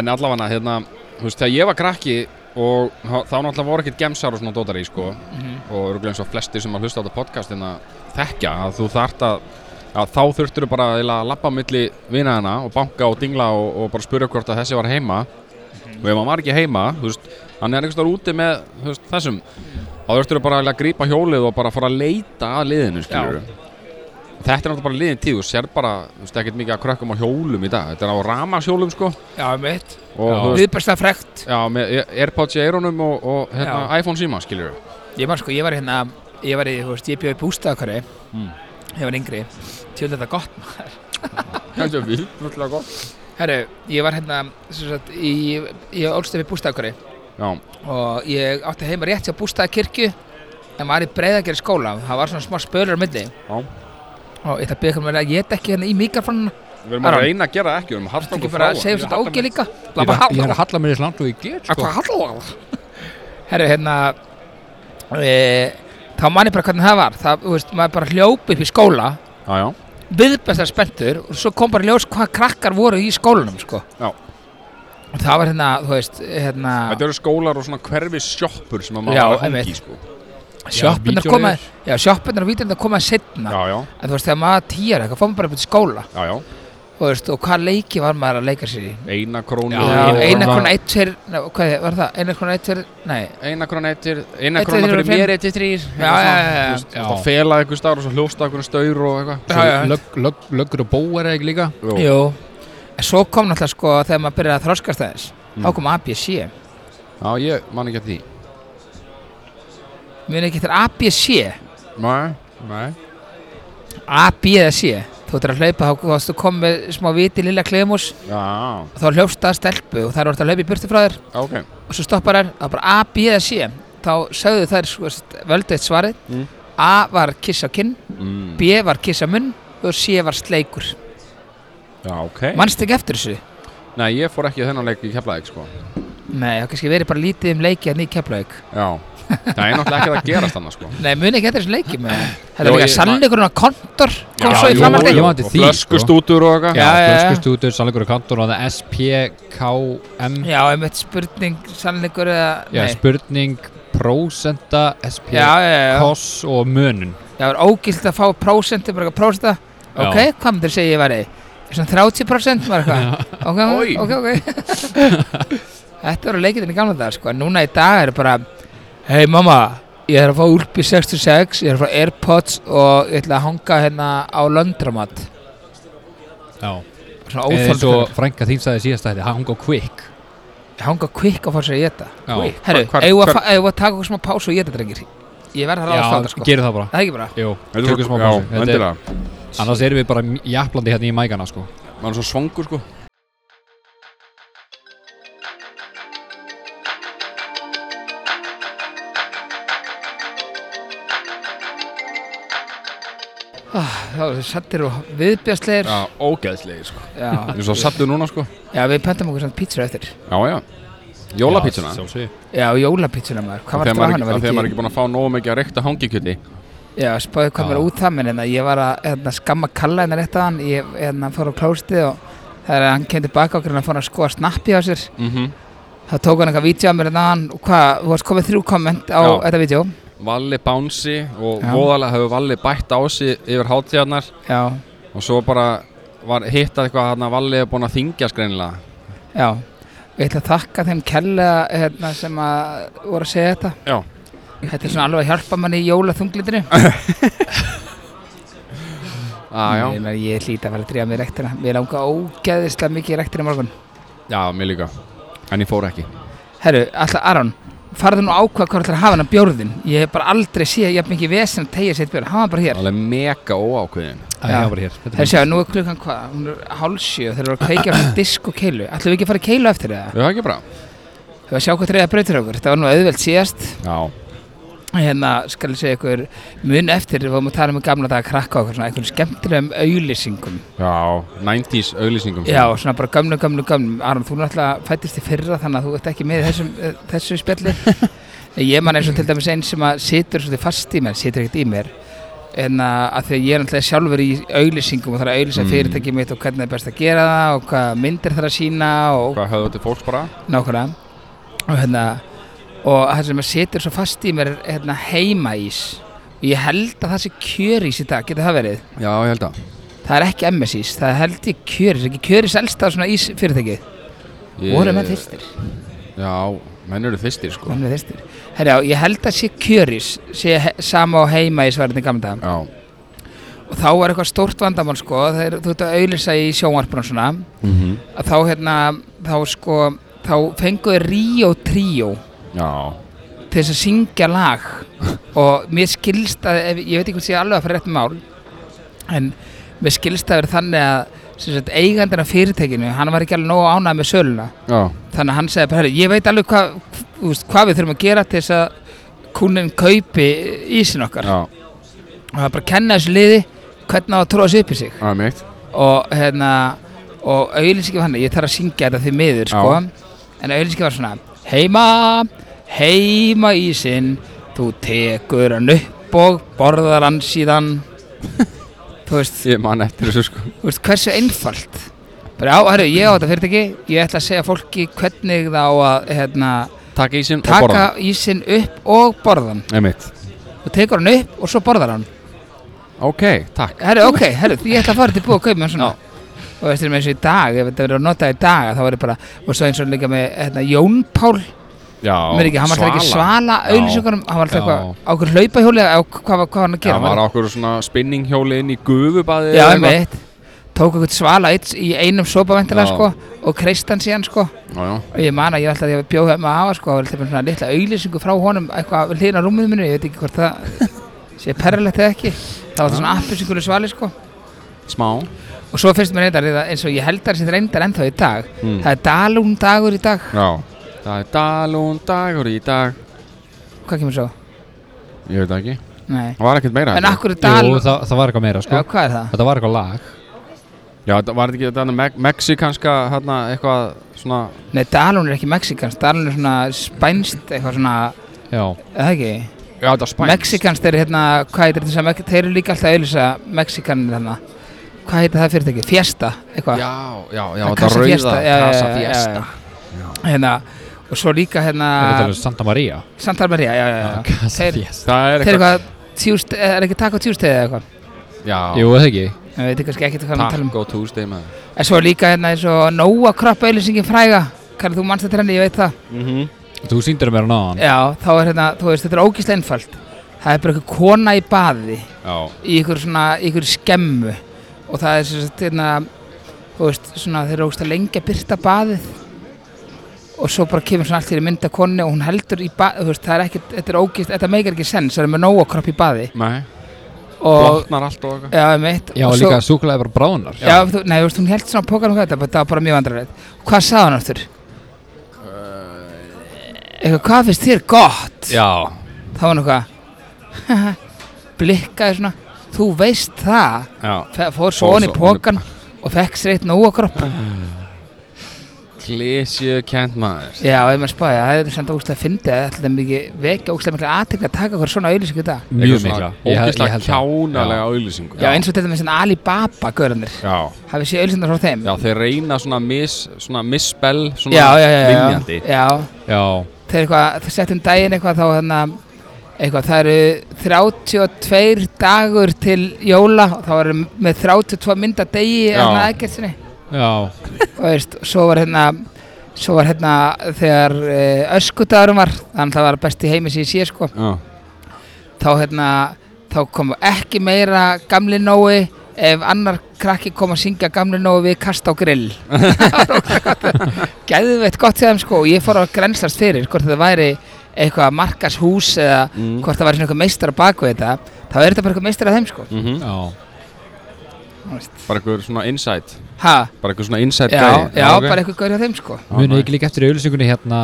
D: en allavega, hérna, þú veist, þegar ég var krakki og þá þá náttúrulega voru ekkert gemsar og svona dótar í, sko
C: Mhm.
D: og eru eins og flestir sem að hlusta á þetta hérna, podcastin að þekkja að þú þart að, að þá þurftur bara eiginlega að lappa milli vinaðina og banka og dingla og, og bara spyrja hvort að þessi var heima og ef hann var ekki heima þú veist, hann er einhvers þar úti með þú veist, þessum þá þurftur bara eiginlega að grípa hjólið og bara fara að leita að liðinu skilur þetta er náttúrulega bara liðin tíð þú sér bara, þú veist, ekkert mikið að krökkum á hjólum í dag þetta er á ramashjólum sko
C: já mitt,
D: og
E: Já.
D: þú veist,
C: viðbærslega frekt
D: já, með Airpods í eyrunum og, og hérna, iPhone síma skilur
C: Ég man sko, ég var hérna, ég var í, þú veist, ég bjóði bústaðakari
E: Hmm.
D: Mm.
C: Ég var yngri, tjóðlega þetta gott maður
D: Þetta er viðbúrslega gott
C: Herru, ég var hérna, sem sagt, í, ég ólst upp í bústaðakari
D: Já,
C: Og ég átti heima rétt hjá bústaðakirkju En var í breiðagjari skóla, það var svona smá spölur á milli
D: já
C: Og ég ætla að byggja um að ég geta ekki hérna í mikrofónuna
D: Við erum að
C: Aron.
D: reyna að gera það ekki, við erum að
C: Það
D: harta okkur
C: ekki
D: frá
C: bara að segja um
D: Ég
C: svona
D: harta
C: ógeð
D: mig-
C: líka
E: Ég
C: Blabba,
E: er- ég er að halla mér í slandu í get
C: Að
E: sko.
C: hvað halló Herru, hérna e, Þá man ég bara hvernig það var Það, þú veist, maður bara hljóp upp í skóla
D: Já, já,
C: viðbæstar spenntur og svo kom bara í ljós hvað krakkar voru í skólanum sko.
D: Já.
C: og það var hérna, þú veist hérna,
D: þetta eru skólar og svona hverfi sjoppur sem að maður
C: Já,
D: var að hangi
C: einmitt.
D: sko.
C: sjoppunar
E: vídeóleir.
C: koma já, sjoppunar og vítunar koma setna
D: Já, já,
C: en þú veist, þegar maður var tíjar eitthvað, fór maður bara upp til skóla
D: já, já,
C: og, veist, og hvað leiki var maður að leika sér í
D: eina krónu
E: Já,
C: Já,
E: og-
C: eina
E: og-
C: krona eitt fyrir, nei, hvað var það, eina krona eitt fyrir, nei,
D: Eina krónu eittir, eina
C: Eitt
D: krónu
C: fyrir
D: fyrir
C: fimm.
D: mér eittir þrýr
C: já, já, já, já.
E: Já.
D: Það fela einhver starf og svo hljósta einhvern staur og eitthvað
C: Já, já.
E: Löggur lög, löggur og bó er ekki líka
D: Jú.
C: Jú, en svo kom náttúrulega sko þegar maður byrjaði að þroskast aðeins, þá kom ABC,
D: Já, ég man ekki að því
C: muni ekki þetta ABC,
D: Nei, nei
C: AB eða C, þú ættir að hlaupa, þá- þá varstu komið með smá viti lilla klemus
D: Já,
C: og þá hljófst að stelpu og það er orðið að hlaupa í burtu frá þér
D: ok
C: og svo stoppar þær, það er bara A, B eða C þá sögðu þær sko, veist, völdu eitt svarið
D: Mm.
C: A var kiss á kinn,
D: mm.
C: B var kiss á munn og C var sleikur
D: Já, ok
C: mannst ekki eftir þessu?
D: Nei, ég fór ekki í þennan leik í Keflavík sko
C: Nei, það kannski verið bara lítið um leiki að nýja keflaug
D: Já, það er náttúrulega ekki að gerast annars sko
C: Nei, muni ekki eftir þessu leiki með það Það er
D: Jó,
C: líka
D: ég-
C: sannleikurinn á kontor kom
E: Já,
C: svo í
E: jú,
C: framhaldi
E: jú.
D: Og
E: Og
D: flöskustútur og
C: sko.
D: eitthvað
C: Já, já, já.
E: Flöskustútur, sannleikur og kantor og það er SPKM
C: Já, einmitt spurning, sannleikur eða
E: Já,
C: nei.
E: spurning, prósenda,
C: já,
E: SPKS
C: já, já, já.
E: og mönun
C: Það var ógilt að fá prósentu, bara eitthvað prósenta
E: Já.
C: Ok, hvað myndir segja ég væri? Svona 30% var eitthvað Ok,
D: Oj.
C: ok, ok [LAUGHS] Þetta voru leikirinn í gamla dag sko. En núna í dag er bara Hei mamma, ég er að fá úlpi 66 Ég er að fá Airpods Og ég ætla að hanga hérna á Löndramat
E: Já,
C: Svona
E: eða eins og
C: óþólkur
E: frænka þín sagði síðast að þetta hang og quick
C: Hanga kvikk og fá sér í þetta
E: Já,
D: Quick.
C: Herru,
D: Hvar- hvar-
C: eigum við að
D: hvar-
C: fa- eigum við að taka okkur smá pásu og ég þetta drengir Ég verð að ráðast á
E: já
C: þetta sko
E: gerum það bara
C: Það er ekki bara
E: Jú,
D: Þetta
E: tökum
D: voru-
E: smá
D: já,
E: pásu Þetta er-
D: endilega.
E: Annars erum við bara jafnlandi hérna í mækana sko
D: maður er svo svangur sko
C: Það var sattir og viðbjastleir
D: Já, ógeðslegir sko
C: Já.
D: Ég er svo sattur núna sko
C: Já, við pöntum okkur svona pítsur eftir
D: Já, já Jólapítsuna
E: Já,
D: Þegar
E: sjálfsögðu.
C: Já, jólapítsuna maður, hvað var þetta á
D: maður
C: hana
D: er
C: var
D: ekki, ekki
C: ekki
D: búin að fá nógu mikið að reykta hangikjöti
C: Já, spáðu hvað mér
E: Já.
C: út það minn en ég var að hérna, skamma kalla hennar rétt að hann ég hérna, fór á klóstið og þegar hann kem tilbaka okkur en hann fór að skoða snappi á sér
D: mm
C: þá tók hann eitthvað vídeo að mér en hann og hvað, þú varst komið þrjú komment á
D: Já.
C: þetta vídeo
D: Valli bánsi og
C: Já.
D: voðalega hefur Valli bætt á sig yfir hátíðarnar
C: Já,
D: og svo bara var hittað eitthvað hann að Valli hefur búin að þingja skreinilega
C: já Ég ætla að þakka þeim kella hérna, sem að voru að segja þetta
D: Já
C: Þetta er svona alveg að hjálpa manni í jólaþunglindinu
D: ah, Já,
C: Ég, meina, ég hlýta að fara að drífa mig í rektina Mér langar ógeðislega mikið í rektina í morgun
D: já, mér líka En ég fór ekki
C: Herru, alltaf Aron Farðu nú ákvað hvað ætlar að hafa hann að bjórðin Ég hef bara aldrei séð jafn mikið vesen að tegja sér bjórn Hafa hann bara hér
D: Alveg mega óákveðin
E: Æ,
C: Já.
E: já, bara hér Þetta er
C: Herru, sjá, nú er klukkan hvað Hún er hálsjö Þeir eru að kveikja á disk og keilu Ætlum við ekki að fara að keilu eftir það?
D: Við það ekki bara
C: Þau að sjá hvað treyða breytir okkur Það var nú auðvelt síðast
D: Já
C: hérna, skal ég segja ykkur mun eftir, við varum að tala um í gamla dag að krakka okkur, svona einhvern skemmtilegum auðlýsingum
D: Já, 90s auðlýsingum
C: já, svona bara gömlu, gömlu, gömlu Aron, þú náttúrulega fættist í fyrra þannig að þú ert ekki með í þessum, eh, þessu spjalli ég man eins og til dæmis einn sem að situr svolítið fast í mér, situr ekkert í mér en að, að því að ég er náttúrulega sjálfur í auðlýsingum og þarf að auðlýsa
D: Mm.
C: fyrirtækið mitt og hvernig er best að gera það og hvað myndir þarf að sína og
D: Hvað höfðu þetta fólks bara?
C: nákvæmlega og hérna og það sem að setur svo fast í mér er, hérna, heimaís og ég held að það sé kjörís í dag, getur það verið
D: Já, ég held að
C: það er ekki MSís, það er held ég kjörís ekki kjörís elsta svona ís fyrirtækið voru menn þyrstir,
D: Já, menn eru þystir sko
C: menn er þyrstir herjá, ég held að sé kjörís sé he- sama á heimaís verðin í gamla dag
D: Já,
C: og þá var eitthvað stórt vandamál sko þegar þú ert að auðlýsa í sjónvarpunum svona
D: mm -hmm.
C: að þá hérna, þá sko þá fenguðu Ríó Tríó
D: já
C: til þess að syngja lag og mér skilst að ef, ég veit ekki hvort sé alveg að fara rétt með mál en mér skilst að vera þannig að sem sagt, eigandinn af fyrirtækinu hann var ekki alveg nógu ánægð með söluna
D: Já,
C: þannig að hann segði bara, "Heyrðu, ég veit alveg hvað þú veist, hvað við þurfum að gera til þess að kúnin kaupi ísin okkar
D: já,
C: og það er bara að kenna þessu liði hvernig á að tróða sig upp í sig
D: það er mitt
C: og hérna og auðlýsingi var hann, ég þarf að syngja þetta því miður sko, en auðlýsingi var svona heima, heima ísinn þú tekur hann upp og borðar hann síðan [LAUGHS] þú veist,
D: Ég man eftir þessu sko
C: þú veist hversu einfalt bara já, herru, ég á þetta fyrirtæki ég ætla að segja fólki hvernig það á að hérna,
D: Takk ísinn og
C: taka
D: borðan
C: ísinn upp og borða hann
D: Það er mitt
C: þú tekur hann upp og svo borðar hann
D: Ok, takk
C: Herru, ok, herru, ég ætla að fara til búið að kaupa mér svona Og veistum eins og í dag, ef þetta verður að nota í dag þá verður bara, og svo eins og líka með hérna, Jón Pál,
D: Já,
C: mér ekki, hann var alltaf ekki svala
D: Já.
C: auðlýsingunum, hann var alltaf
E: Já.
C: eitthvað á okkur hlaupahjóli, á hvað var, hvað var hann að
D: Já,
C: gera
D: hann var okkur svona spinninghjóli inn í gufubadi
C: Já, einmitt, tók eitthvað svala eitt, í einum sopaventilega
D: Já.
C: sko og kreistan síðan sko
D: Já, já,
C: og ég man að ég alltaf, ég bjóð hefði maður sko, það var alltaf með svona litla auðlýsingu frá honum eitthvað við hliðina á rúmið minu, ég veit ekki hvort það sé perralegt eða ekki, það var þetta
E: Ah.
C: svona appisingulu svali sko
D: smá
C: Og svo finnst mér reyndar eða- eins og ég held að það sé reyndar ennþá í dag
E: Hmm.
D: Mm.
C: Það er Dalún dagur í dag
D: Já Það er dalún dagur í dag
C: Hvað kemur svo?
D: Ég veit það ekki
C: Nei
D: Það var ekkert meira
C: En
D: held ég.
C: akkur er
E: Ah, Jú,
C: Dalún
E: það, það var eitthvað meira
C: Já,
E: sko
C: hvað er það?
E: Þetta var eitthvað lag
D: Já, það var þetta ekki þetta me mexikanska hérna eitthvað svona
C: Nei, Dalún er ekki mexikans Dalún er svona spænst eitthvað svona
E: Já,
C: eða ekki
D: Já, þetta var spæns
C: Mexikans þeir eru hérna Hvað heitir þess að Þeir eru líka alltaf að auðlýsa Mexikanir hérna Hvað heitir það fyrir ekki? Fiesta eitthvað
D: Já, já, já,
C: Það
D: þetta
C: Casa Fiesta,
D: rauða
C: já, já, já,
D: Casa
C: já, já,
D: Fiesta
C: Hérna Og svo líka
E: þetta
C: hérna
E: er um Santa Maria
C: Santa Maria Já, já, já
E: Casa
C: Þeir-
E: Fiesta.
D: Það er
C: Þeir eru eitthvað Tuesday- eh, Er ekki Taco Tuesday eða eitthvað
D: Já,
E: Jú, eða ekki
C: Ég veit kannski ekkert hvað við tala um
D: takk og túsdegi með það
C: En svo líka hérna eins og Nóa kroppa auðlýsingin fræga Kallar þú manst þetta henni, ég veit það
E: Þú sýndir mér hann áðan
C: Já, þá er hérna, þú veist, þetta er ógislega einfalt Það er bara einhver kona í baði
D: Já,
C: Í einhver svona, í einhver skemmu Og það er sem sagt, hérna Þú veist, svona, þeir eru ógislega lengi að byrta baðið Og svo bara kemur svona allt í einu mynd af konni Og hún heldur í baði, þú veist, það er ekkert Þetta er ógist, þetta meikar ekki sens Það er með nóa kropp í baði
D: nei,
C: Og,
D: blotnar allt og eitthvað
C: já, meitt
E: Já,
C: og svo-
E: líka súkulega bara bráðunar
C: Já, þú, nei, þú veist, hún held svona pókanum hvað þetta, bara- það var bara mjög vandrarlegt. Hvað sagði hann aftur?
E: Uh,
C: Eitthvað, hvað finnst þér gott?
D: Já,
C: Það var nokkuð [LAUGHS] blikkaði svona, þú veist það,
D: já
C: Fe- fór svo hann í
D: Fór svo ofan í-
C: pókan og fekk sér eitt nógakropp.
D: Klísju kent maður
C: Já, ef maður spáði, það hefði samt ógstlega fyndið, það ætlaði mikið vekja ógstlega mikla aðtekna að taka hver svona auðlýsing í dag.
E: Mjög mikla Ég held- ég
D: Ógislega
E: held það.
D: kjánalega auðlýsingu
C: Já, eins og þetta með svona Alibaba görðanir,
D: Já,
C: hafið séð auðlýsingar frá þeim?
D: já, þeir reyna svona mis, svona misspell, svona
C: já, já, já, já,
D: vinnjandi
C: já.
E: Já,
C: þeir eitthvað, þeir settum daginn eitthvað þá hérna, eitthvað, það eru 32 dagur til jóla og þá eru með 32 mynda degi
D: Já.
C: hérna ekkert sinni
E: já,
C: og veist, svo var hérna svo var hérna þegar e, öskudagurum var, þannig að það var besti heimi sem ég sé sko,
D: Já,
C: þá hérna þá kom ekki meira gamli nói ef annar krakki kom að syngja gamli nói við kast á
D: [LAUGHS]
C: grill geðveitt gott þegar sko og ég fór að grenslast fyrir hvort þetta væri eitthvað markashús eða
D: Mm.
C: hvort það væri svona eitthvað meistar á baku þetta þá er þetta bara eitthvað meistar að þeim sko
D: mhm
E: já
D: Bara einhver svona insight
C: ha,
D: Bara einhver svona insight
C: já,
D: gæi
C: já
D: ok.
C: bara eitthvað gaur hjá þeim sko
D: Já,
E: Munið
D: nei.
E: ekki líka eftir auðlýsingunni hérna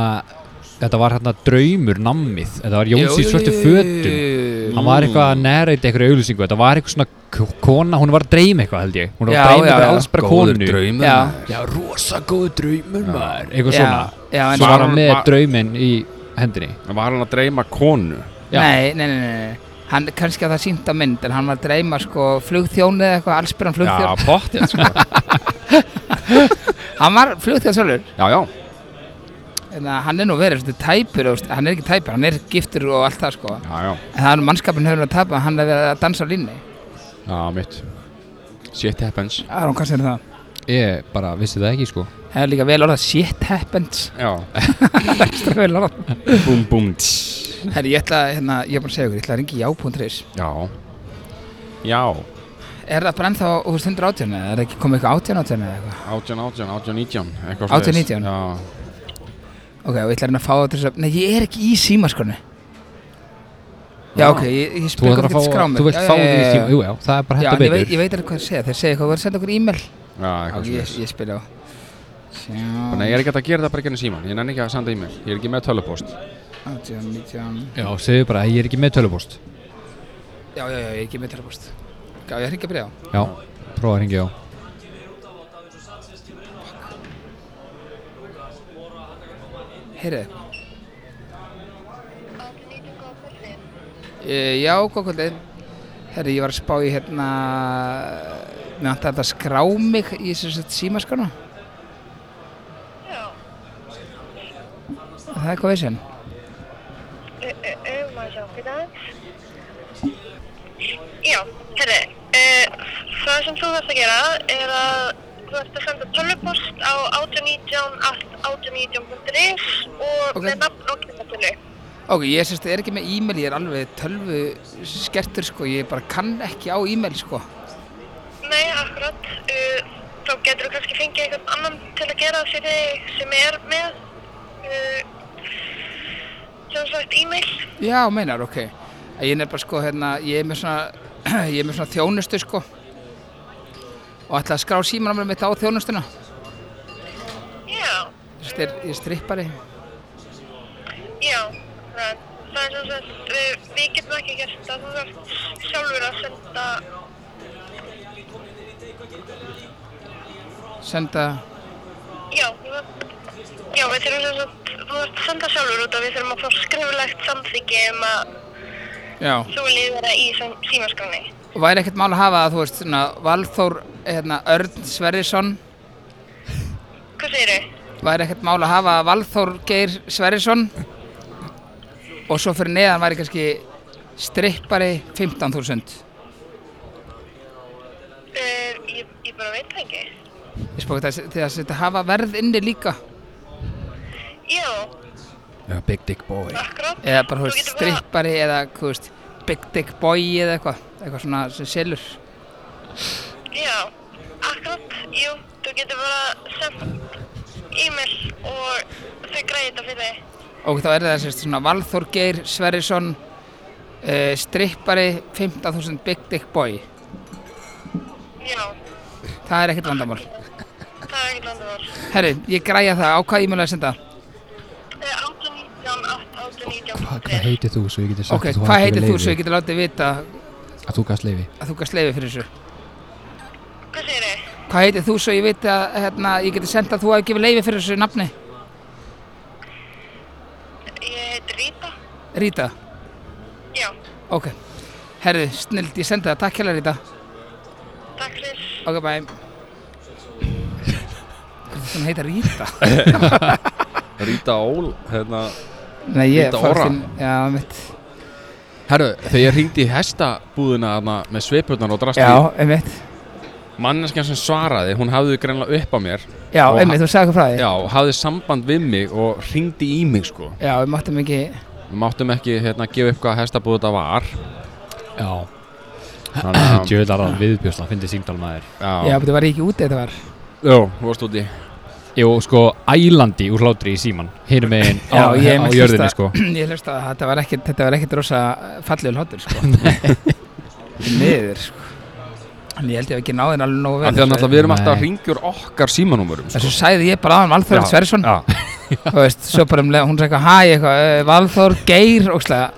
E: þetta var hérna draumur nammið Þetta var
C: Jú,
E: Jóns í
C: jú,
E: svörtu
C: jú, jú,
E: fötum
C: jú, jú.
E: Hann var eitthvað að nærreita einhverju auðlýsingu Þetta var eitthvað svona k- kona, hún var að dreyma eitthvað held ég Hún var
C: Já,
E: að dreyma
C: já,
E: eitthvað
C: já.
E: alls bara konu
D: draumur
C: Já.
D: maður.
E: Já, rosa góður draumur maður Eitthvað
C: Já,
E: svona
C: já, en
E: Svo
C: var
E: var hann
D: hann-
E: með
D: var-
E: drauminn í hendinni
D: En Var hann að dreyma konu?
E: Já.
C: Nei, nei, nei, nei, nei. Hann, kannski að það sínt á mynd, en hann var að dreyma sko flugþjónið eða eitthvað, allsbyrjan
D: Já,
C: flugþjón.
D: pottið sko.
C: Hann var flugþjón sjálfur,
D: Já, já,
C: en að hann er nú verið svona tæpur, þú veist, hann er ekki tæpur, hann er giftur og allt það sko.
D: já, já,
C: En það er mannskapin hefur að tapa, hann hefur að dansa á línni.
D: já, mitt Shit happens
C: Já, hann kannski er það.
E: Ég bara vissi það ekki sko
C: Það er líka vel orðað shit [LAUGHS] happens.
D: Já,
C: Ekstra vel orðað.
D: búm, búm tss.
C: Herri, ég ætla, að, hérna, ég er búin að segja ykkur, ég ætla að ringi já.is.
D: Já Já,
C: Er það bara ennþá úr 118 eða er það ekki komið eitthvað 18 18 eða eitthvað?
D: 18, 18, 18, 19 eitthvað
C: 18,
D: svoleiðis.
C: 19?
D: Já,
C: Ok, og ég ætla að reyna að fá það til þess að... Nei, ég er ekki í símaskonu. Já,
D: Já.
C: ok, ég, ég
E: Þú
C: spyr hvað
E: ætlar að fá,
C: getur skráð mig.
E: þú vilt
C: Já,
E: fá
C: já,
E: því
C: já, já.
E: tíma Jú, já, það er bara
C: Já,
E: hægt
C: en
E: að
C: ég veit,
E: betur
C: ég veit alveg hvað það segja. Þeir segja eitthvað, þú verður að senda okkur e-mail.
D: já,
C: Já,
D: eitthvað
C: ég,
D: svoleiðis.
C: ég spyr á. Sjá,
D: Þannig að ég er ekki hægt að gera það bara ekki enn síman Ég nenni ekki að senda í mig Ég er ekki með tölupost
C: 18, 19...
E: Já, segðu bara að ég er ekki með tölvupost
C: Já, já, já, ég gef mér telefóst. Já, ég hringi að byrja á.
E: Já, prófa að hringja á
C: Heyrðu. E, já, góð kvöldið. Herri, ég var að spá í hérna... Mér vantar þetta að skrá mig í þessu símaskonu.
B: Já,
C: Er Það er eitthvað vissinn.
B: ö- ö- ö, má sjá hvernig Já, herri, uh, það sem þú þarfst að gera er að þú ert að senda tölvupost á 1819.is og
C: Ok.
B: með nafn og kynnatölu.
C: Ok, ég sérst, er ekki með e-mail, ég er alveg tölvu skertur sko, ég bara kann ekki á e-mail sko.
B: Nei, akkurat, uh, þá getur þú kannski fengið einhvern annan til að gera það fyrir þig sem er með, uh, sem sagt, e-mail.
C: Já, meinar, ok. Ég er bara sko, hérna, ég er með svona, [CLEARS THROAT] ég er með svona þjónustu sko. Og ætla að skrá símanamrið mitt á þjónustuna.
B: Já.
C: Sérst, er, ég er strippari.
B: Já, það það er sem sagt, við, við getum ekki gert það, þú þarft sjálfur að senda,
C: Senda,
B: já, þú þarft, já, við þurfum sem sagt, þú þarft að senda sjálfur út og við þurfum að fá skriflegt samþyggi um að
C: já.
B: þú viljið vera í sem símaskráni.
C: Og væri ekkert mál að hafa að, þú veist, svona, Valþór, hérna, Örn Sverrisson.
B: Hvað segir þau?
C: Væri ekkert mál að hafa Valþór Geir Sverrisson. Og svo fyrir neðan væri kannski strippari 15.000. Eh,
B: Uh, ég, ég bara veit það ekki.
C: Ég spók þess að þetta hafa verð inni líka
B: Já,
E: Já, big dick boy
B: akkurat.
C: eða bara, þú veist,
B: getur bara-
C: strippari eða, þú veist, big dick boy eða eitthvað eitthvað svona sem selur
B: Já, akkurat, jú, þú getur bara sendt e-mail og þau græði þetta fyrir þig.
C: og þá er það sérst svona Valþór Geir Sverrisson uh, strippari 15.000 big dick boy
B: Já,
C: það er ekkert vandamál
B: það er ekkert landamál.
C: Herri, ég græja það, á hvað ég mjög að senda
B: Uh, 819, 819.
E: Hva, Hvað heitir þú svo ég geti sagt
C: ok,
E: að þú
C: hvað
E: hafir
C: heitir þú
E: gefið
C: svo
E: leyfi?
C: ég geti látið vita
E: Að þú gafst leifi
C: að þú gæst leiði fyrir þessu
B: Hvað segir þið?
C: hvað heitir þú svo ég viti að hérna, ég geti senda að þú hafi gefið leiði fyrir þessu nafni
B: Ég heiti Rita.
C: Rita,
B: Já,
C: ok Herri, snild, ég sendi það, takk hérlega Rita
B: takk fyrir.
C: Ok, bæ Hún heita Rita
D: Rita Ól hérna.
C: Nei, ég
D: Rita
C: fór
D: Ora.
C: inn- Já, mitt
D: Herru, þegar ég hringdi í hestabúðina þarna, með sveipurnar og drasti
C: Já, einmitt
D: Manneskjan sem svaraði, hún hafði greinlega upp á mér
C: Já,
D: Og
C: einmitt, þú sagði hvað frá því
D: Já, hafði samband við mig og hringdi í mig sko
C: Já, við máttum ekki
D: Við máttum ekki hérna gefa upp hvað hestabúð þetta var
E: Já
D: Þannig að-
E: Djöðlar að viðbjóðsla, fyndi síndal maður
C: Já,
D: Já,
C: betur var ég ekki úti þetta var
D: Jó, þú varst úti
E: Jó, sko, ælandi úr hlátri í síman Hinum megin á,
C: Já, ég
E: á
C: einmitt
E: jörðinni,
C: hlusta-
E: sko
C: [CLEARS THROAT] Ég hlusta að þetta var ekkit, þetta var ekkit rosa fallegur hlátur,
D: [LAUGHS]
C: sko Nei Niður, sko En ég held ég hef ekki náðin alveg nógu vel sko.
D: Þannig að náttúrulega við erum alltaf
E: Nei.
D: að ringjur okkar símanúmurum
C: Þessu sagði ég bara aðan Valþóri
D: sko. Já,
C: Sverrisson
D: já.
C: þú veist, svo bara um leið, hún sagði eitthvað, hæ, eitthvað, eh, Valþór, Geir, og slag,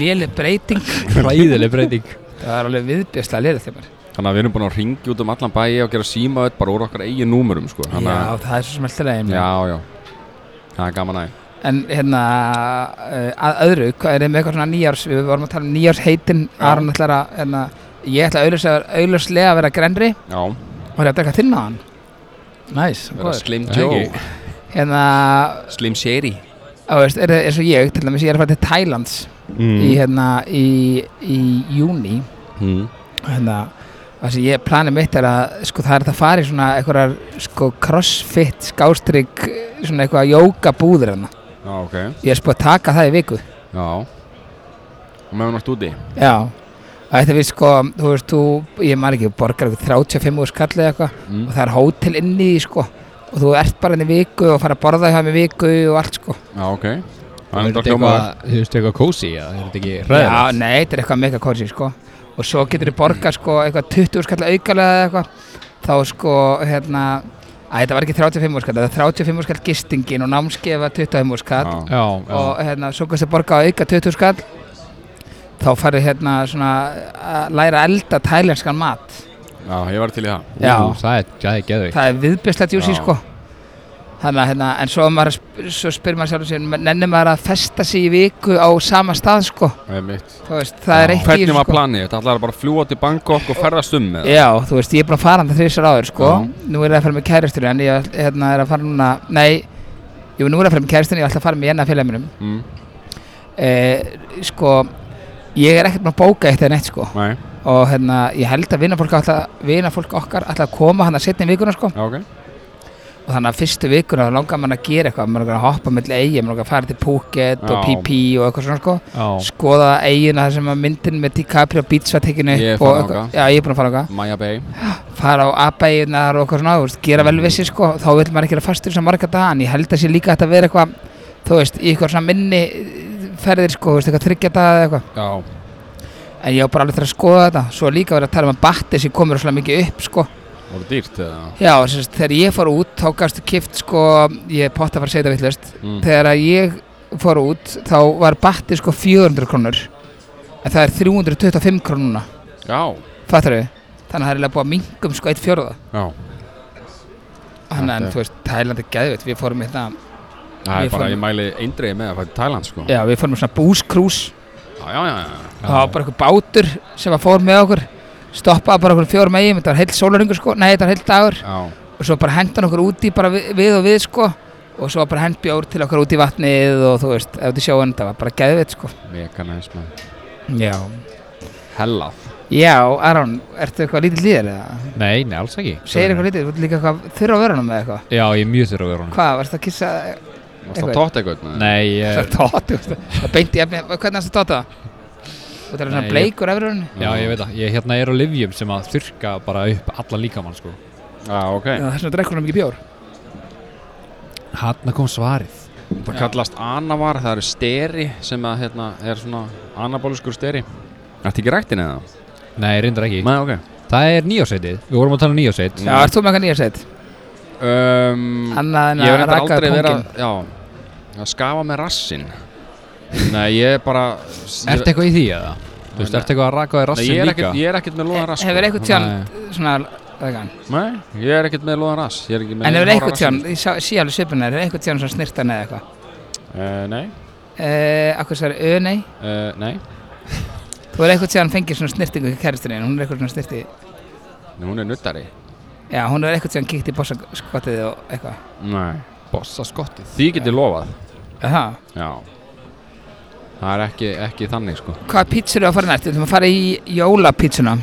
C: léli breyting,
E: Hræðileg [LAUGHS] breyting
C: það var alveg viðbjörslega lélið þeimar.
D: Þannig að við erum búin að ringja út um allan bæi og gera símaöð bara úr okkar eigin númurum sko. Þannig
C: Já,
D: að-
C: það er svo smeltilega einnig.
D: já, já. Það er gaman aðeins.
C: En hérna, eh, að öðru, hvað er með eitthvað svona nýjárs, við vorum að tala um nýjársheitin, Aron ætlar að, hérna, ég ætla auðljóslega, auðljóslega að vera grenri
D: Já,
C: og er að drekka þinn á hann. Næs,
D: vera
C: nice,
D: Slim
E: Það er
D: Joe.
E: ekki.
C: hérna,
D: Slim Sherry.
C: á veist, er, eins og ég, til dæmis, ég er að fara til Thailands í, hérna, í, í júni
D: Mm.
C: hérna, það sem ég planið mitt er að sko það er þetta að fara í svona einhverjar sko crossfit skástrygg svona eitthvað jóka búður hérna
D: Já, ok.
C: ég er sko að taka það í viku
D: Já. Og meðan vart úti.
C: já Þetta við sko, þú veist, þú, ég maður ekki, borgar eitthvað 35 úr skallið eða eitthvað
D: Mm.
C: og það er hótel inni í því sko og þú ert bara henni viku og fara að borða hjá mig viku og allt sko.
D: Já, ok. Það er
E: Er
D: enda
E: þetta
D: hljómað vel.
E: eitthvað, þú veist, eitthvað kósi eða er þetta ekki
C: Já,
E: hræðilegt?
C: nei, þetta er eitthvað mega kósi sko og svo getur þið borgað sko eitthvað 20 úrskall aukalega eða eitthvað þá sko hérna að þetta var ekki 35 úrskall, það var 35 úrskall gistingin og námskeið var 25 úrskall
D: Já.
E: Já, já,
C: og hérna svo kannski borgað auka 20 úrskall þá farið hérna svona að læra að elda tælenskan mat
D: Já, ég var til í það.
C: Já,
E: Ú, það er, það er geðveikt
C: það er viðbjörslega júsi
D: Já.
C: sko þannig að hérna, en svo, maður, svo spyr maður sjálf sér, nennir maður að festa sig í viku á sama stað sko
D: Það er mitt.
C: Þú veist, það er eitt í
D: Hvernig
C: þessu,
D: var
C: sko.
D: planið? Þetta ætlaði bara að fljúa til Bangkok og ferðast um með það?
C: Já, þú veist, ég er búin að fara hann það þrísar áður, sko
D: Já.
C: Nú er það að fara með kæristinu, en ég hérna, er að fara núna Nei, jú, nú er það að fara með kæristinu, ég ætla að fara með enna félagminum
D: Mm.
C: eh, Sko, ég er ekkert með að bóka eitt eða neitt, sko
D: Nei.
C: Og hérna, ég held að vinafólk, alltaf, vinafólk okkar ætla að koma hann að setna í vikuna, sko
D: Já, ok.
C: Og þannig að fyrstu vikuna þá langar mann að gera eitthvað Mann langar að hoppa melli eigi, mann langar að fara til Phuket og
D: Já.
C: PP og eitthvað svona, sko
E: Já,
C: Skoða eigina þar sem að myndin með DiCaprio Beach var tekinu
D: Ég er
C: upp og
D: farinn
C: eitthvað-
D: þangað.
C: Já, ég er búin að fara okkar
D: Maya Bay.
C: fara á abæðinar og eitthvað svona, þú veist, gera vel vissi sko, þá vil maður ekki vera fastur sem marga daga, en ég held að sé líka hægt að þetta vera eitthvað, þú veist, í eitthvað svona minni eh, ferðir sko, þú veist, eitthvað þryggja daga eða eitthvað,
D: Já.
C: en ég á bara alveg til að skoða þetta, svo er líka verið að tala um að batti sem komur svona mikið upp sko,
D: Var það dýrt eða?
C: já, sérst, þegar ég fór út, þá gafstu kift sko, ég er potta að fara að segja þetta vittlust,
D: Mm.
C: þegar að ég fór út, þá var batti sko 400 krónur, en það er 325 krónuna,
D: Já.
C: fattar við, þannig að það er eiginlega búið að minkum sko eitt fjórða.
D: Já.
C: Þannig
D: Þetta
C: en
D: er-
C: þú veist, Tæland er geðvitt, við fórum hérna, í þetta,
D: Það
C: Við
D: er bara,
C: fórum-
D: ég mæli eindriði með að fara til Thailand sko.
C: já við fórum í svona búskrús,
D: Já, já, já, já.
C: það var bara einhver bátur sem að fór með okkur, stoppaði bara okkur fjórum eigum, þetta var heilt sólaringur sko, nei þetta var heilt dagur
D: Já.
C: og svo bara hendan okkur úti bara við, við og við sko og svo var bara hend bjór til okkur úti í vatnið og þú veist, ef þið sjáum þetta var bara geðvitt sko.
D: Mega næs maður.
C: Já.
D: Hellað.
C: Já, Aron, ertu eitthvað lítið líður eða?
E: nei, nei, alls ekki
C: Segir eitthvað lítið, þú ert líka eitthvað þurra á verunum eða eitthvað?
E: Já, ég er mjög þurr á verunum
C: Hvað, varst það að kissa,
D: Varst það
C: Eitthvað.
D: tótt eitthvað?
E: Nei,
C: það
E: ég,
C: er tóti, það beinti, hvernig varst það tóta? Þú talar
E: Nei,
C: svona
E: ég-
C: bleikur af verunum?
E: já, ég veit það Ég hérna er á livjum sem að þurrka bara upp alla líkamann sko
D: Já, ok.
C: Já, þess vegna drekkur hann mikið bjór
E: Hanna kom svarið
D: Það kallast anavar, það eru steri sem að, hérna, er svona anabóliskur steri. Ertu ekki rættin eða?
E: Nei, reyndar ekki
D: Nei, ok.
E: Það er nýjásveitið, við vorum að tala um nýjásveit
C: Já, ert þú með eitthvað nýja set?
D: Um,
C: Annað en
D: ég hef
C: að
D: reyndar
C: raka
D: aldrei verið
C: pungin
D: að, já, að skafa með rassin. Nei, ég er bara...
E: Ertu eitthvað í því eða? Þú veist,
D: Nei.
E: ertu eitthvað að raka á þér
D: Nei,
E: rassin
D: ég er
E: líka?
D: ekkert, ég er ekkert með loðan rass. sko.
C: Hefur eitthvað tján svona rækan.
D: Nei, ég er ekkert með loðan rass. Ég er ekki með
C: En hefur
D: neinn
C: eitthvað
D: hára
C: tján,
D: rassinn,
C: ég sá- sé alveg svipuna Hefur eitthvað tján svona snirtan eða eitthvað
D: sko. Eh, nei,
C: Eh, Akkur sér ö, nei
D: eh, nei.
C: Þú er eitthvað tján fengið svona snirtingu í kæristinni Hún er eitthvað svona snirti
D: Nei, Hún er nuttari.
C: Já, hún er eitthvað tján kíkt í bossaskottið og eitthvað
D: Nei.
E: Bossa skottið
D: Því geti lofað.
C: Aha.
D: Já. Það er ekki, ekki þannig, sko.
C: Hvað pítsur eru að fara næst? Þú ætlum að fara í jólapítsuna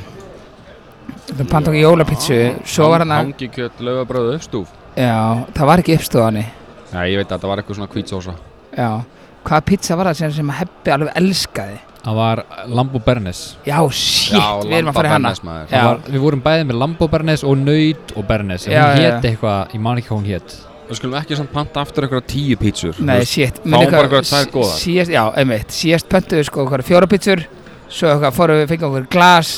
C: Þú panta okkur jólapítsu Svo var hann að
D: Hangikjöt, laufabröðu, uppstúf.
C: Já, það var ekki uppstofani
D: Já, ég veit að þetta var eitthvað svona kvítsósa.
C: Já Hvaða pítsa var það sem, sem Heppi alveg elskaði?
E: Það var Lambo Bernes
C: Já, shit, við erum að fara í hana
D: maður.
C: Já.
E: Það var, Við vorum bæðið með Lambo Bernes og Nöyt og Bernes En
C: Já, já,
E: Hún hét
C: já.
E: eitthvað, ég man ekki hvað hún hét
D: Við skulum ekki samt panta aftur eitthvað tíu pítsur.
C: Nei, shit
D: fáum bara eitthvað tvær góðar.
C: síðast, Já, einmitt, síðast pöntu við sko okkur fjórapítsur Svo okkur fórum við, fengum okkur glas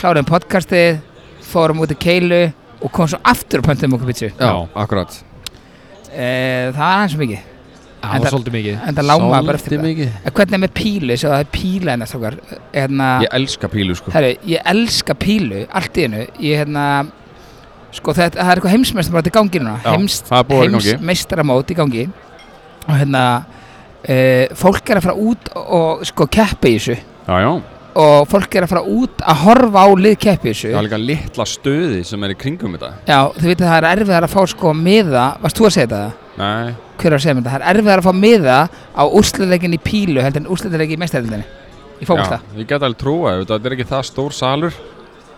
C: Klárum podcastið Fórum út í keilu Og komum svo aftur og pöntum okkur pítsu
D: Já, akkurat.
C: e, Það er aðeins mikið
E: það var svolítið mikið
C: en það láma bara eftir
F: Svolítið
C: það
F: mikið
C: En hvernig er með pílu, svo það er píla hérna strókar hérna,
D: Ég elska pílu sko
C: herru, ég elska pílu allt í hennu, ég hérna sko það, það er eitthvað heimsmeistaramót í gangi núna
D: Já, það er búið að vera í gangi.
C: heimsmeistaramót í gangi og hérna e, fólk er að fara út og sko keppa í þessu
D: Já, já,
C: og fólk er að fara út að horfa á lið keppa í þessu
D: það er líka litla stöði sem er í kringum þetta
C: já, þú veitir það er erfiðar að fá sko miða, varst þú að segja þetta?
D: Nei,
C: hver er að segja mér þetta, það er erfiðar að fá miða á úrslitleikin í pílu heldur en úrslitleiki í mestældinni í fókvölda
D: já, ég get alveg trúa ef þetta er ekki það stór salur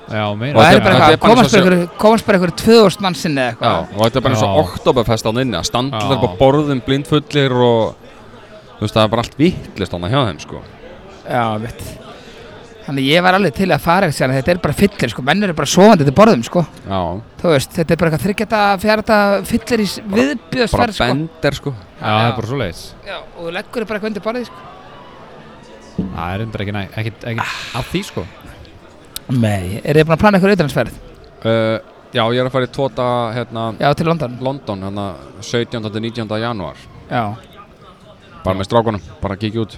E: Já, meira
D: Og
C: það
D: þetta
C: er bara
D: þetta
C: eitthvað,
D: er bara
C: komast
D: svo-
C: bara einhverju- komast bara einhverju 2000 mannsinni eða
D: Já,
C: eitthvað
D: og þetta er bara eins og
E: Já.
D: oktoberfest án inni að standa
E: Já.
D: upp á borðum blindfullir og þú veist, það er bara allt vittlist án að hjá þeim sko
C: já, veit þannig ég var alveg til að fara eitthvað þetta er bara fyllir, sko, menn eru bara sofandi til borðum, sko,
D: Já,
C: þú veist, þetta er bara eitthvað þryggjata, fjarta, fyllir í
D: bara
C: viðbjöðsverð, sko,
D: bender sko
E: Já, það er bara svo leiðis
C: já, og þú leggur þér bara eitthvað undir borðið, sko,
E: Það er undir ekki næ, ekkit, ekkit
C: Ah.
E: af því sko
C: nei, er ég búin að plana eitthvað auðvitaðsverð,
D: uh, Já, ég er að fara í tóta hérna
C: já, til London,
D: London hérna 17. til 19. janúar
C: já,
D: bara með strákunum, bara að kíkja út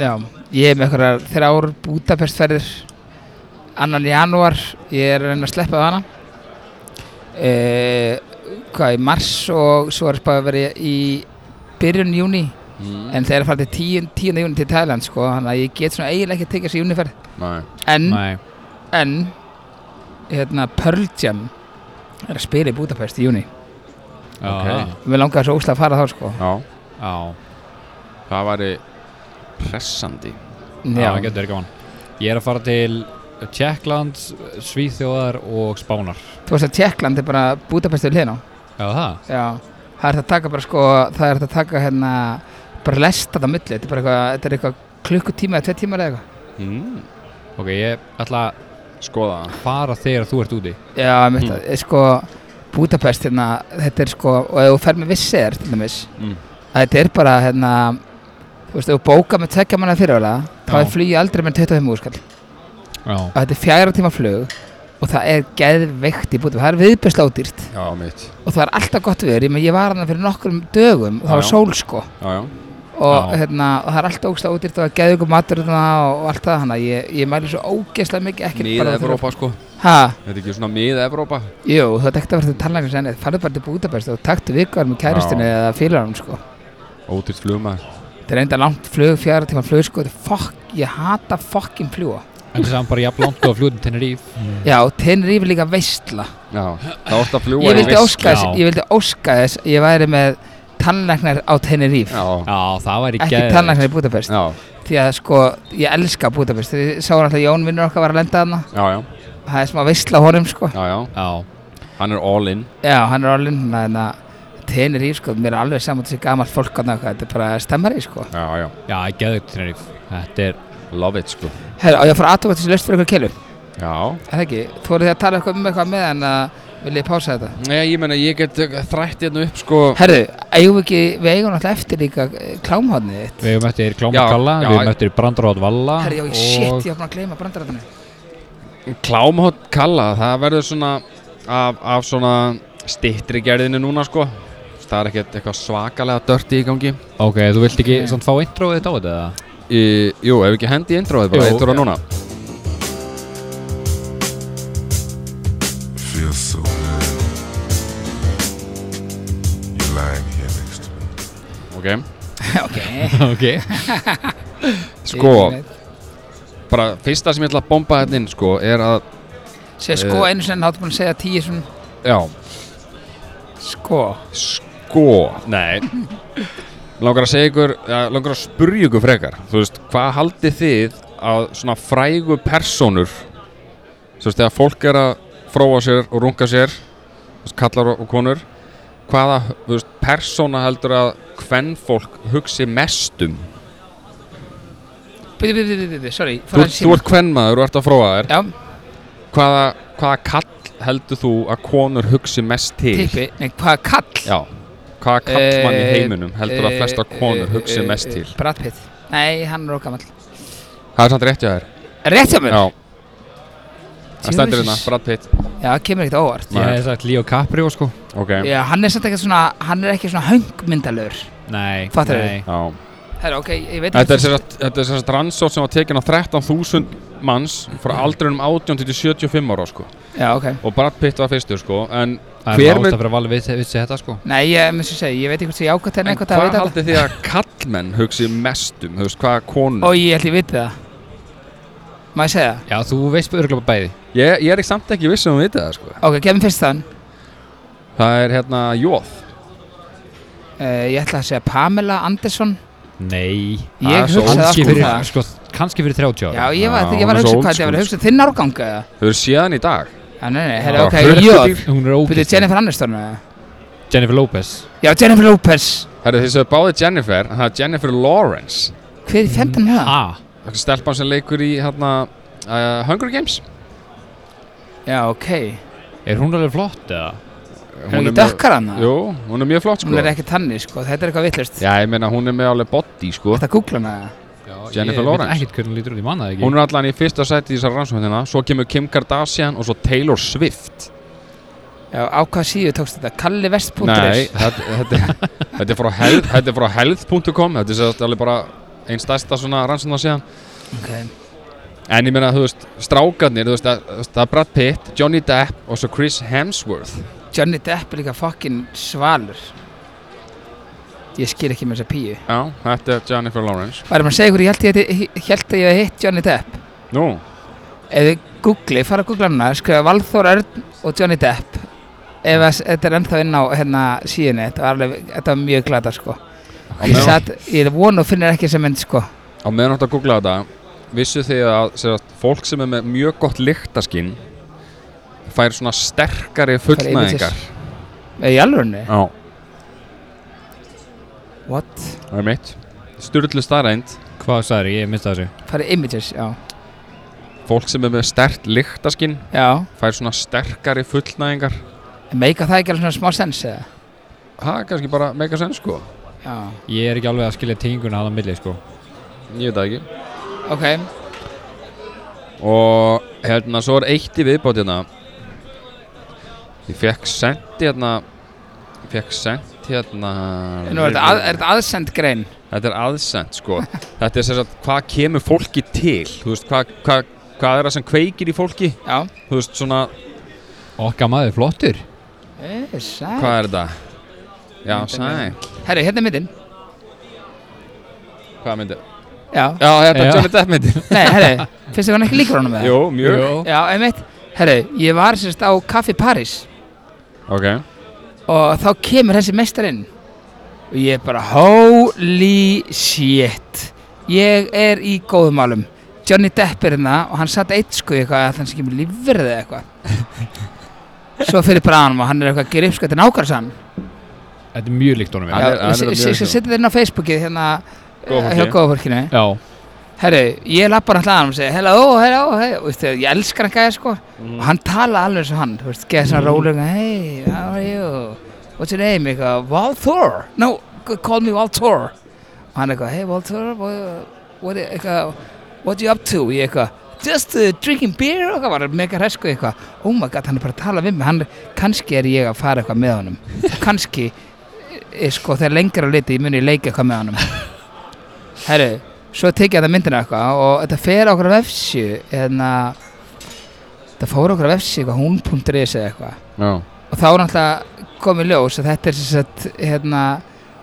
C: já, ég er með eitthvað þrjár Budapestferðir, annan janúar, ég er að reyna að sleppa það hana, uh, hvað, í mars og svo er bara að vera í byrjun júni,
D: mm.
C: En þeir eru að fara til 10. 10. júni til Thailand sko, þannig að ég get svona eiginlega ekki að tekja þessi júniferð.
D: Nei,
C: En,
E: Nei,
C: en, hérna, Pearl Jam er að spila í Budapest í júni.
E: já,
D: Ok.
E: það-
C: Mér langar svo óslega að fara þá sko.
D: já,
E: já,
D: það væri pressandi
E: já, það getur verið gaman Ég er að fara til Tjekkland, Svíþjóðar og Spánar
C: Þú veist að Tjekkland er bara Budapest við hliðin á.
E: Já, það?
C: Já, það er þetta að taka bara sko, það er þetta að taka hérna, bara lesta þetta á milli. Þetta er bara eitthvað, þetta er eitthvað klukkutíma eða tvei tímar eða eitthvað.
E: Hmm.
D: mm.
E: Ok, ég ætla að
D: Skoða það
E: fara þegar þú ert úti
C: Já, mitt,
D: Mm.
C: mm. sko, Budapest hérna, þetta er sko, og ef þú fer með vissið er til dæmis,
D: mm.
C: að þetta er bara hérna þú veist, ef þú bóka með tvekja manna fyrirvælega þá
E: Já.
C: er flugið aldrei með 25 úrskall
E: Já,
C: og þetta er fjæra tíma flug og það er geðveikt í bútum það er viðbjörsla ódýrt
D: Já, mitt
C: og það er alltaf gott viður ég, meina, ég var hann fyrir nokkrum dögum og það
D: Já,
C: var
D: já.
C: sól sko
D: Já, já,
C: og,
E: Já.
C: hérna, og það er alltaf ógæsla ódýrt og það er geðveikum matur þarna og, og allt það þannig að ég, ég mæli svo ógæsla mikið ekkert
D: miða
C: bara
D: Evrópa sko
C: ha,
D: Þetta er ekki svona miða Evrópa
C: jú, þú ert ekkert að vera til tannlæknis enni farðu bara til Budapest og taktu vikuar með kæristinu eða félagunum sko
D: Ótýrt flugmaður
C: Þetta er enda langt flug, fjara tíma flug, sko, þetta er fokk, ég hata fokkin fljúa.
E: en það er bara jafn langt og að fljóðin Teneríf
C: Já, Tenerife er líka veistla.
D: Já, það vart að fljúa
C: Ég vildi,
E: veistla.
C: óska þess, ég vildi óska þess, að ég væri með tannlæknar á Tenerife,
D: Já,
E: Já, það væri
C: ekki
E: geðveikt.
C: tannlæknar í Budapest.
D: já, því
C: Því að, sko, ég elska Budapest, þið sáum alltaf Jón vinnur okkar var að lenda þarna,
D: Já, já,
C: það er smá veistla á honum, sko.
D: já, já
E: Já,
D: Hann er all in
C: Já, hann er alveg, þannig að Tenerife, sko, mér er alveg saman þessi gamalt fólk þarna og eitthvað, þetta er bara stemmari, sko.
D: Já, já,
E: já, geðugt Teneríf Þetta er,
D: love it sko
C: Herra, á ég að fara aðtóka þessi löst fyrir ykkur kelu,
D: Já
C: er það ekki? Þú voruð þið að tala eitthvað um eitthvað með en að vil ég pása þetta?
D: Nei, ég meina, ég get uh, þrætt hérna upp sko
C: Herðu, eigum við ekki, við eigum náttúrulega eftir líka klámhóðnið þitt.
E: við hefum eftir Kláma
D: Já,
E: Kalla,
D: já,
E: við hefum
D: ég-
E: eftir Brandaróð
D: Ah,
E: Valla
C: Herðu, já,
E: og
C: ég shit, ég hef búin að gleyma brandarættunni.
D: Klámhótt kalla, það verður svona af, af svona stittri gerðinu núna sko Það er ekkert eitthvað svakalega dörti í gangi
E: Ok, þú vilt ekki samt fá introið þetta á þetta eða?
D: í, Jú, ef ekki hendi í introið bara,
E: Jú.
D: þetta er núna
G: feels so good. You're lying here next to me.
D: Ok,
C: ok.
E: [LAUGHS] Ok
D: sko, bara fyrsta sem ég ætla að bomba hérna inn sko er að,
C: Sér sko einu sinni, náttu búin að segja tíu svona,
D: já,
C: sko.
D: sko Nei Langar að segja ykkur, ja, langar að spurja ykkur frekar Þú veist, hvað haldið þið að svona frægu persónur Þú veist, þegar fólk er að fróa sér og runga sér þú veist, Kallar og og konur Hvaða, þú veist, persóna heldur að hvern fólk hugsi mest um
C: Bíðu, bíðu, bíðu, bíðu, sorry.
D: Þú, þú ert hvernmaður og ert að fróa þér
C: Já,
D: hvaða, hvaða kall heldur þú að konur hugsi mest til?
C: tippi, nei, hvaða kall?
D: Já Hvaða kallmann í
C: Eh,
D: heiminum heldur að
C: eh,
D: flesta konur
C: eh,
D: hugsi
C: eh,
D: mest
C: eh,
D: til?
C: Brad Pitt. Nei, hann er okkamall.
D: Það er samt rétt hjá þér
C: Rétt hjá mér?
D: Já Það stendur
C: Jesus.
D: hérna, Brad Pitt
C: Já, kemur ekkert á óvart.
E: Ég hefði sagt Leo Caprio sko
D: Ok,
C: Já, hann er samt ekkert svona, hann er ekki svona höngmyndalögur.
E: Nei,
C: Fattar
E: nei.
D: Já.
C: Herra, ok, ég veit
D: Þetta er sem sagt- þetta er sem sagt rannsótt sem var tekin á 13.000 manns frá aldrinum 18 til 75 ára sko
C: Já, ok
D: og Brad Pitt var fyrstur sko en
E: Það
D: Hver
E: er
D: mun-
E: rátt að vera valið vissi, vissi þetta sko
C: Nei, ég, eins og ég segi, ég veit ekki hvort sem ég ákvæmt en
D: En
C: eitthvað það
D: hvað
C: veit þetta
D: haldið þið að kallmenn hugsi mest um, þú veist, hvaða konur?
C: Og ég held ég viti það Má ég segja það?
E: Já, þú veist örgulega bæði
D: Ég, ég er ekki samt ekki viss um að vita það, sko.
C: Ok, gefum fyrst þann
D: Það er hérna Jóð.
C: uh, Ég ætla að segja Pamela Andersson
E: Nei
D: Það er
C: Ég
D: svo
C: hugsaði
E: Kanski
C: alltaf
E: fyrir,
C: um það
E: sko, kannski fyrir 30
C: Já,
E: ára
C: ég var,
D: Já,
C: ég var
D: hún
C: að
D: er svo
C: hugsa
D: old
C: hvað ég var að
D: school,
C: hugsa Þinn árgang eða?
D: Þau eru síðan í dag.
C: Já, nei, nei,
E: Já,
C: herra, ok,
D: hrukkuð [LAUGHS]
C: Jóð
E: Hún er
C: Byrðu
E: ógist
C: Jennifer Aniston eða?
E: Jennifer Lopez
C: Já, Jennifer Lopez
D: Herru, þið sögðu báði Jennifer, en það er Jennifer Lawrence.
C: Hver í fjöndan með það?
E: Ah,
D: Það er stelpan sem leikur í hérna uh, Hunger Games.
C: Já, ok
E: er hún alveg flott eða?
C: Hún er ekki dökkar hann
D: Jú, hún er mjög flott, sko.
C: Hún er ekki tanni, sko, þetta er eitthvað vittlust
D: Já, ég meina, hún er með alveg body, sko.
C: Þetta googla hana eða?
D: Jennifer
E: Ég
D: Lawrence.
E: veit ekkert hvernig hún lítur út, ég manna það ekki
D: Hún er allan í fyrsta sæti í þessar rannsóknina, svo kemur Kim Kardashian og svo Taylor Swift.
C: Já, á hvað síðu tókst þetta? Kalli
D: Nei,
C: Vest.is
D: þetta, þetta, þetta er frá health- þetta er frá health.com Þetta er sem sagt alveg bara einn stærsta svona rannsóna síðan
C: okay.
D: En ég meina, þú veist, strákarnir, þú veist, það- það er Brad Pitt, Johnny Depp og svo Chris Hemsworth
C: Johnny Depp er líka fokkin svalur Ég skil ekki með þessa píu
D: Já, þetta er Jennifer Lawrence
C: Varum að segja ykkur, ég held, ég, heiti- ég held að ég hef hitt Johnny Depp
D: Nú,
C: Ef þið googli, fara að googla hana Skrifa Valþór Örn og Johnny Depp Ef að, þetta er ennþá inn á hérna, síðunni Þetta var, alveg, þetta var mjög glata sko
D: á
C: Ég,
D: meðan,
C: sat, ég vonu að finna ekki þessa mynd sko
D: á meðan átt að googla þetta Vissu þið að sem sagt, fólk sem er með mjög gott lyktaskinn fær svona sterkari fullnæðingar
C: Eða í alvörunni?
D: Já,
C: What?
D: það er mitt Sturlu staðrænd
E: Hvað sagði ég, mista þessu
C: Fara í images, já
D: Fólk sem er með stert lyktaskinn
C: Já,
D: fær svona sterkari fullnæðingar
C: meika það ekki alveg svona smá sens eða?
D: Það er kannski bara mega senn sko
C: Já,
E: Ég er ekki alveg að skilja tenguna að það milli sko
D: Ég veit það ekki
C: ok
D: Og hérna svo er eitt í viðbót hérna Ég fekk sent hérna Ég fekk sent hérna
C: Nú er þetta, að, er þetta aðsend grein
D: Þetta er aðsent sko Þetta er sem sagt hvað kemur fólki til Þú veist hvað, hvað, hvað er það sem kveikir í fólki
C: Já
D: Þú veist svona
E: Okka maður, flottur
C: Eh, sæl.
D: hvað er þetta Já sæl
C: Herru, hérna er myndin
D: Hvað myndir
C: Já,
D: Já þetta
E: Já.
D: er Johnny Depp myndir
C: nei, herru, finnst þið hann ekki líkur honum með það?
D: Jú mjög
C: Já, einmitt Herru, ég var sérst á Kaffi París
D: Ok
C: Og þá kemur þessi meistar inn Og ég bara, holy shit Ég er í góðum álum Johnny Depp er hérna og hann satt eitt sko í eitthvað að hann skimur lífverð eða eitthvað Svo fyrir bræðanum og hann er eitthvað að gera upp sko, þetta er nákvæmst hann
E: Þetta er mjög líkt honum
D: Hann
C: Já,
D: er-
C: ég
D: hann er
C: se-
D: mjög
C: se-
D: svona.
C: setja þetta inn á Facebookið hérna
D: Góða
C: eh,
D: fólki.
C: hjá góða fólkinu
E: Já,
C: Herru, ég lappa hann hlaðan og segja hello, hello, hey og veistu, ég elskar hann gæja sko og hann tala alveg eins og hann, þú veist, geða svona rólega hey, how are you, what's your name eitthvað, Valthor, no c- call me Valthor og hann eitthvað, hey Valthor, what, what, eitthvað, what you up to, ég eitthvað just uh, drinking beer og eitthvað, var mega hresku eitthvað, oh my god, hann er bara að tala við mig hann, kannski er ég að fara eitthvað með honum kannski, e, sko þegar lengra á liti, ég muni leika eitthvað með honum herru svo tekið þetta myndina eitthvað og þetta fer á okkur vefsi hérna þetta fór á okkur vefsi eitthvað hún.is eða eitthvað
D: Já
C: og þá er náttúrulega komið ljós að þetta er sem sagt hérna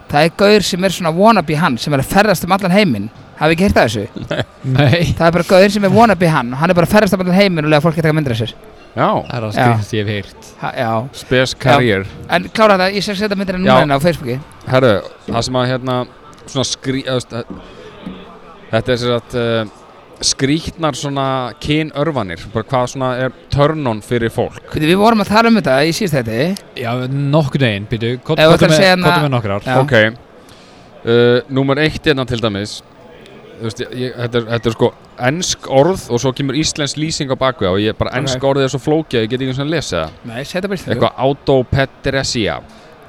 C: það er gaur sem er svona wannabe hann sem er að ferðast um allan heiminn hafið ekki heyrt það þessu?
E: nei
C: það er bara gaur sem er wannabe hann og hann er bara að ferðast um allan heiminn og lega fólk að taka myndir af sér
D: Já
E: Það er að
C: Já.
E: skrifast ég hef heyrt
C: ha, já
D: Spes karriér
C: en klára þetta ég sé að setja myndina
D: Já.
C: núna hérna á Facebooki
D: Herru, það sem að hérna svona skrí... eða, þú veist, Þetta er sér að uh, skrítnar svona kynörfanir bara hvað svona er törnun fyrir fólk
C: Veitir, við vorum að tala um þetta í síðust þetta
E: Já, nokkur neginn, býtu Kottu
C: Ef þú ætlar að
E: með,
C: segja hana-
E: kottu með nokkur ár
C: Já.
D: Ok uh, Númer eitt hérna til dæmis Þú veist, ég, þetta, er, þetta er sko ensk orð og svo kemur íslensk lýsing á bakvið og ég bara ensk orðið er svo flókið að ég get ekki eins og að lesa það
C: nei, setja bara í stundum
D: eitthvað autopedresia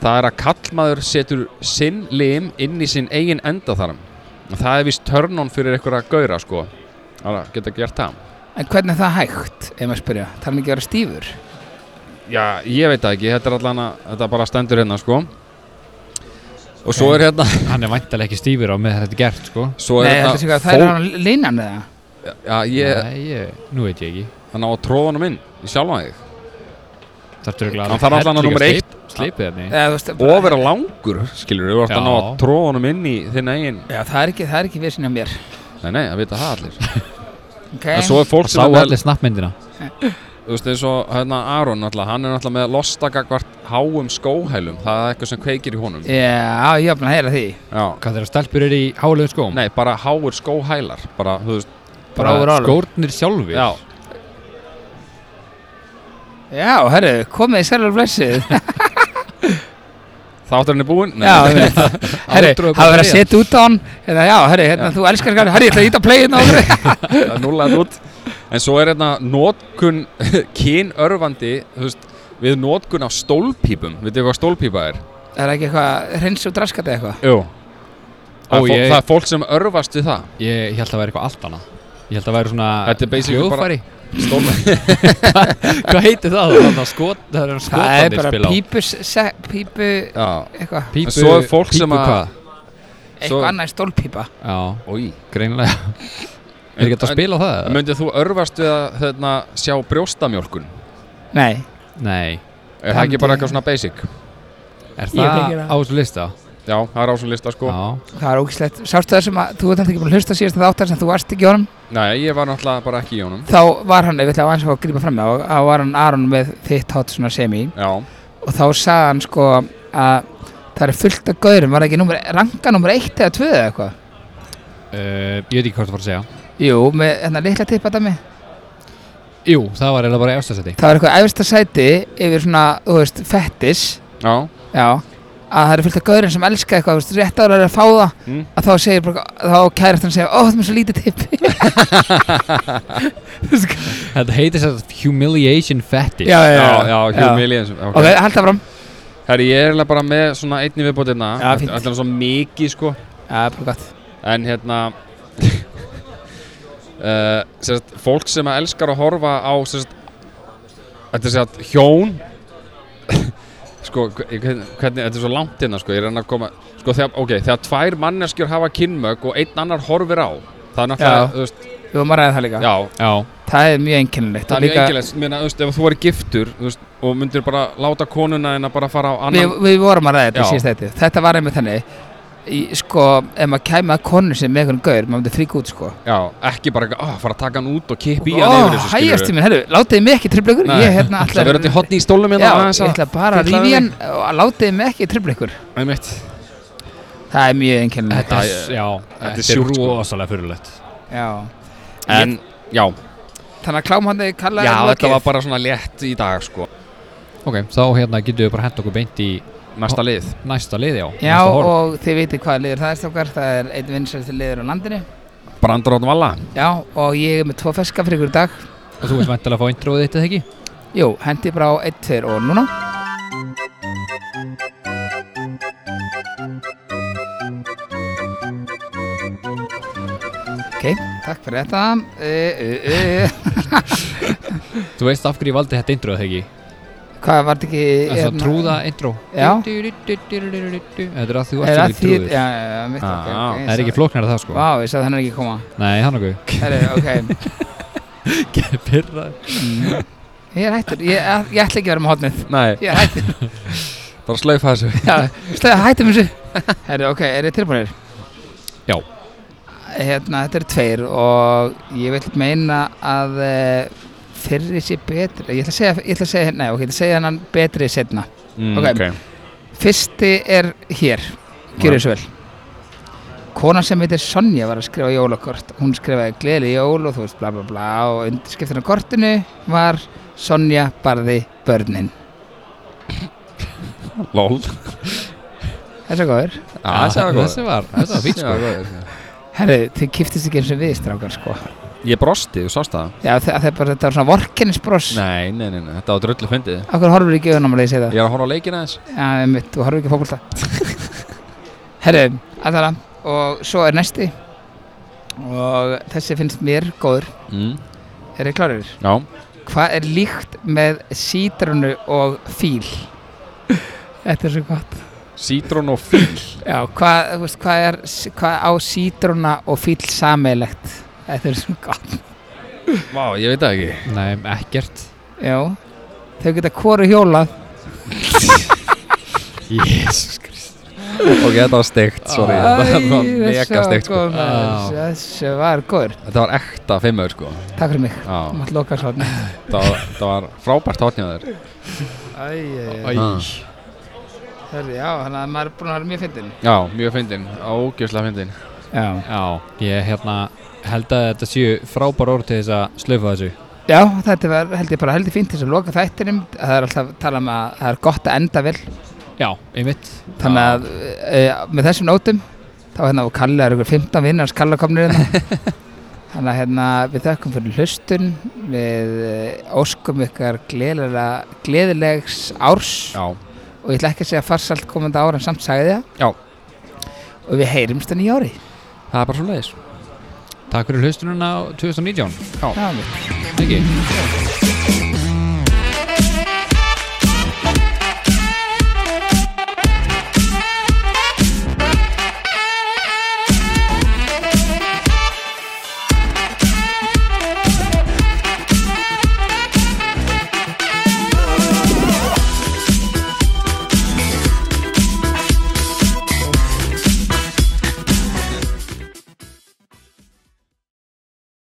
D: það er að kallmaður setur sinn lim inn í sinn eigin endaþarm og það er vist törnun fyrir eitthvað að gauðra sko Alla, geta gert það
C: en hvernig er það hægt, ef maður spyrja þarf hann ekki um að vera stífur
D: já, ég veit það ekki, þetta er allan að þetta bara stendur hérna sko Og svo er hérna
E: Hann er væntalega ekki stífur á með þetta er gert sko
D: Svo
C: Nei,
D: er
C: þetta sé
D: hérna
C: hvað, það er hann linan eða?
D: Já, ég
E: Nei, ég, nú veit ég ekki
D: Hann á að tróða honum inn Í sjálfan þig
E: Þarftur örugglega
D: Hann þarf allan að
E: hellinga
D: númer
E: sleip-
D: eitt.
E: Sleipið henni
C: Eða, þú veist,
D: Og vera langur, skilur Þú ert að ná að
E: Já.
D: tróða honum inn í þinn eigin
C: Já, það er ekki, það er ekki vissin hjá mér
D: Nei, nei, það vita það allir
C: okay.
D: En svo er fólk
E: Það sá
D: sem er vel-
E: allir snappmyndina
D: Þú veist eins og hérna Aron náttúrulega, hann er náttúrulega með lostakakvart háum skóhælum, það er eitthvað sem kveikir í honum.
C: Já, ég er búin að heyra því
D: Já.
E: Hvað þeirra stelpur eru í hálöfum skóm?
D: Nei, bara háur skóhælar, bara, þú veist,
C: bara overall.
E: skórnir sjálfur
D: já.
C: Já, herru, komið í sælur
D: [LAUGHS]
C: blessið
D: Þátturinn er búinn? Nei.
C: Já,
D: [LAUGHS]
C: ég veit. herru,
E: Átrúið bara
C: hafa verið að
E: að
C: setja út á hann hérna, Já, herru, hérna, þú elskar hann Herru, ég ætla að íta að playin á
D: [LAUGHS]
C: hann
D: það er núlega út. En svo er hérna nótkun [LAUGHS] kynörfandi, þú veist, við nótkun á stólpípum, veitu hvað stólpípa er?
C: Það er ekki eitthvað, hreins og draskat eða eitthvað
D: Jú. Það,
E: Ó,
D: er fó-
E: ég-
D: það er fólk sem örfast við það.
E: Ég ég held að það væri eitthvað allt annað Ég held að það væri svona
D: Þetta er basically bara-
E: hljóðfæri.
D: Stól...
E: [LAUGHS] Hvað heitir það? Það er þarna skot, það er
C: Það er
E: skotandi
C: bara
E: spil á
C: pípus, se, pípu,
D: Já.
C: eitthvað
E: Pípu,
D: svo er fólk
E: pípu
D: sem að-
E: hvað?
C: Eitthvað annað en stólpípa
E: Já,
D: Ói.
E: greinilega Er ekki hægt að spila á það? eða?
D: Möndið þú örfast við að hérna, sjá brjóstamjólkun?
C: Nei,
E: Nei
D: Er það ekki bara eitthvað svona basic?
E: Er
C: Ég
E: það
C: þekki það.
E: á þessu lista?
D: Já, það er á svona lista sko.
E: Já
C: það er ógislegt Sástu það sem að, þú ert alltaf ekki búin að hlusta síðast að þáttar sem þú varst ekki á hann
D: Nei, ég var náttúrulega bara ekki í honum.
C: Þá var hann, ég ætla að aðeins fá að grípa fram með Þá var hann Aron með þitt hot svona semi
D: Já,
C: Og þá sagði hann sko að það er fullt af gaurum Var það ekki númer, ranga nummer eitt eða tvö eða eitthvað
E: Uh, ég veit ekki hvað það var að segja
C: Jú, með hérna litla tippa dæmi
E: Jú, það var eiginlega bara í ástæðsæti
C: Það var eitthvað efsta sæti yfir svona, þú veist, fettis
D: já,
C: Já að það eru fullt af gaurin sem elska eitthvað, þú veist, rétt ára er að fá það
D: Mm.
C: að þá segir bara, þá kærast hann segja, ó, það er mér svo lítið tippi
E: Þetta heitir sér humiliation fetish
C: [LAUGHS] já,
D: já, já, humiliation
C: Ok,
D: okay.
C: held það fram
D: Herri, ég er eiginlega bara með svona einni viðbótina
C: Já, fínt.
D: Þetta er svo mikið sko
C: Já, bara gott
D: En hérna [LAUGHS] uh, sérst, Fólk sem að elskar að horfa á sérst, Þetta er sérst hjón [LAUGHS] Sko, hve- ég- hvernig, hvernig, þetta er svo langt hérna sko, ég er enn að koma Sko, þegar, ok, þegar tvær manneskjur hafa kynmög og einn annar horfir á Það er náttúrulega,
C: Já.
D: þú veist,
C: Við vorum að ræða það líka
D: já,
E: Já,
C: Það er mjög einkennilegt
D: Það er líka engilegt, meina, þú veist, ef þú væri giftur þú veist, og myndir bara láta konuna en að bara fara á
C: við,
D: annan
C: við vorum að ræða þetta
D: Já.
C: síðast þetta Þetta var einmitt þannig í, Sko, ef maður kæmi að konu sem með einhvern gaur maður myndi frík út, sko
D: Já, ekki bara eitthvað, ah, fara að taka hann út og kippi í
C: Ó,
D: hann yfir þessu
C: hægjast í minn, herru, látiði mig ekki trubla ykkur
D: Nei.
C: Ég hérna
D: Það verður þetta í hotni í stólum
C: Já,
D: hérna aðeins
C: ég
D: að-
C: ætla bara að
D: fylla
C: rífi
D: við.
C: hann og látiði mig ekki trubla ykkur
D: Einmitt.
C: Það er mjög einkennilegt
E: þetta
D: Já,
E: er,
D: ég-
E: já,
D: þetta er
E: þetta er
D: sjúkt, sko.
E: rosalega fyrirlegt
C: Já
D: En, já,
C: Þannig að klám hann þig kalla
D: já þetta var bara svona létt í dag sko
E: Ok, þá hérna getum við bara hent okkur beint í
D: Næsta lið
E: næsta lið, já
C: Já,
E: næsta horn.
C: og þið vitið hvað liður það er strókar Það er einn vinsælti liður á landinu
D: Brandur Ótn Valla
C: Já, og ég er með tvo ferska fyrir ykkur í dag
E: og þú veist væntalega að fá introið þitt eða ekki?
C: Jú, hendi bara á 1, 2 og núna Ok, takk fyrir þetta uh, uh, uh.
E: Þú veist af hverju ég valdi þetta introið eða ekki?
C: Hvað var þetta ekki
E: Það er
C: hérna,
E: það trúða intro
C: Já.
E: Þetta er að þú
C: Er
E: ert
C: það
E: ekki
C: því Já,
E: trúður Ah,
C: já, já, mitt
D: Já,
C: ok, ok,
D: já.
C: ég
E: Það er
C: sá-
E: ekki flóknar að það sko
C: Vá, ég sagði hann er ekki að koma
E: Nei, hann okkur
C: [LAUGHS] Herri,
E: [LAUGHS]
C: ok
E: Pyrra
C: Ég er hættur, ég, ég ætla ekki að vera með hotnið
D: Nei,
C: Ég er hættur
D: bara slaufa þessu
C: Já, slæði, hættum þessu [LAUGHS] Herri, ok, er þið tilbúinir?
E: Já.
C: Hérna, þetta eru tveir og ég vil meina að uh, fyrri sé betri Ég ætla að segja, ég ætla að segja, nei, ok, ég ætla að segja hennan betri setna
D: mm,
C: Ok. Fyrsti er hér, gjör þessu vel Kona sem heitir Sonja var að skrifa jólakort Hún skrifaði gleðileg jól og þú veist bla bla bla og undirskiptin á kortinu var Sonja barði börnin
D: Lol
C: Þessi er góður
E: Þessi var, þessi var fínt sko
C: Herri, þið kiftist ekki eins og við strákar sko
D: Ég brosti, þú sást það
C: Já, þe- það er bara þetta var svona vorkennisbross
D: Nei, nei, nei, nei, þetta var drullu fyndið
C: Akkur horfur ekki auðvunum að leysa það
D: Ég er að horfa á leikina þess
C: Já, einmitt, þú horfur ekki [LAUGHS] fókvölda Herri, aðtala Og svo er næsti Og þessi finnst mér góður
D: mm.
C: Er þið klárir?
D: Já,
C: Hvað er líkt með sítrunu og fíl? [LAUGHS] Þetta er svo gott
D: Sítrón og fíl
C: Já, hvað, þú veist, hvað er hvað á sítruna og fíl sameilegt Þetta er svo gott
D: Vá, ég veit það ekki
E: Nei, ekkert
C: Já, þau geta hvoru hjólað
E: Jésus Krist
D: Ok, þetta var steikt, sorry
E: Ah.
D: Þetta var mega steikt sko.
E: Já.
C: Þessi var góður
D: Þetta var ekta fimmur sko
C: Takk fyrir mig
D: Já,
C: Mátt loka svo
D: þetta var, þetta var frábært hotnjáður
C: Æ,
E: Æ,
C: Ah. Hörðu, já, þannig að maður er búin að vera mjög fyndin
D: Já, mjög fyndin, ógjöfslega fyndin
C: Já
E: já, ég hérna held að þetta séu frábær orð til þess að slöfa þessu
C: Já, þetta var held ég bara heldur fínt þess að loka þættinum Það er alltaf að tala um að það er gott að enda vel
E: Já, einmitt
C: Þannig að e, með þessum nótum þá hérna og Kalli er ykkur 15 vinn hans Kalla komnir hérna
D: [LAUGHS]
C: Þannig að hérna við þökkum fyrir hlustun við eh, óskum ykkar gleðilega, gleðilegs árs
D: Já,
C: og ég ætla ekki að segja farsalt komandi ára en samt sagði það
D: Já.
C: og við heyrumst henni í ári
D: það er bara svo leiðis
E: Takk fyrir hlustununa á 2019
C: Já, við
E: Ekki?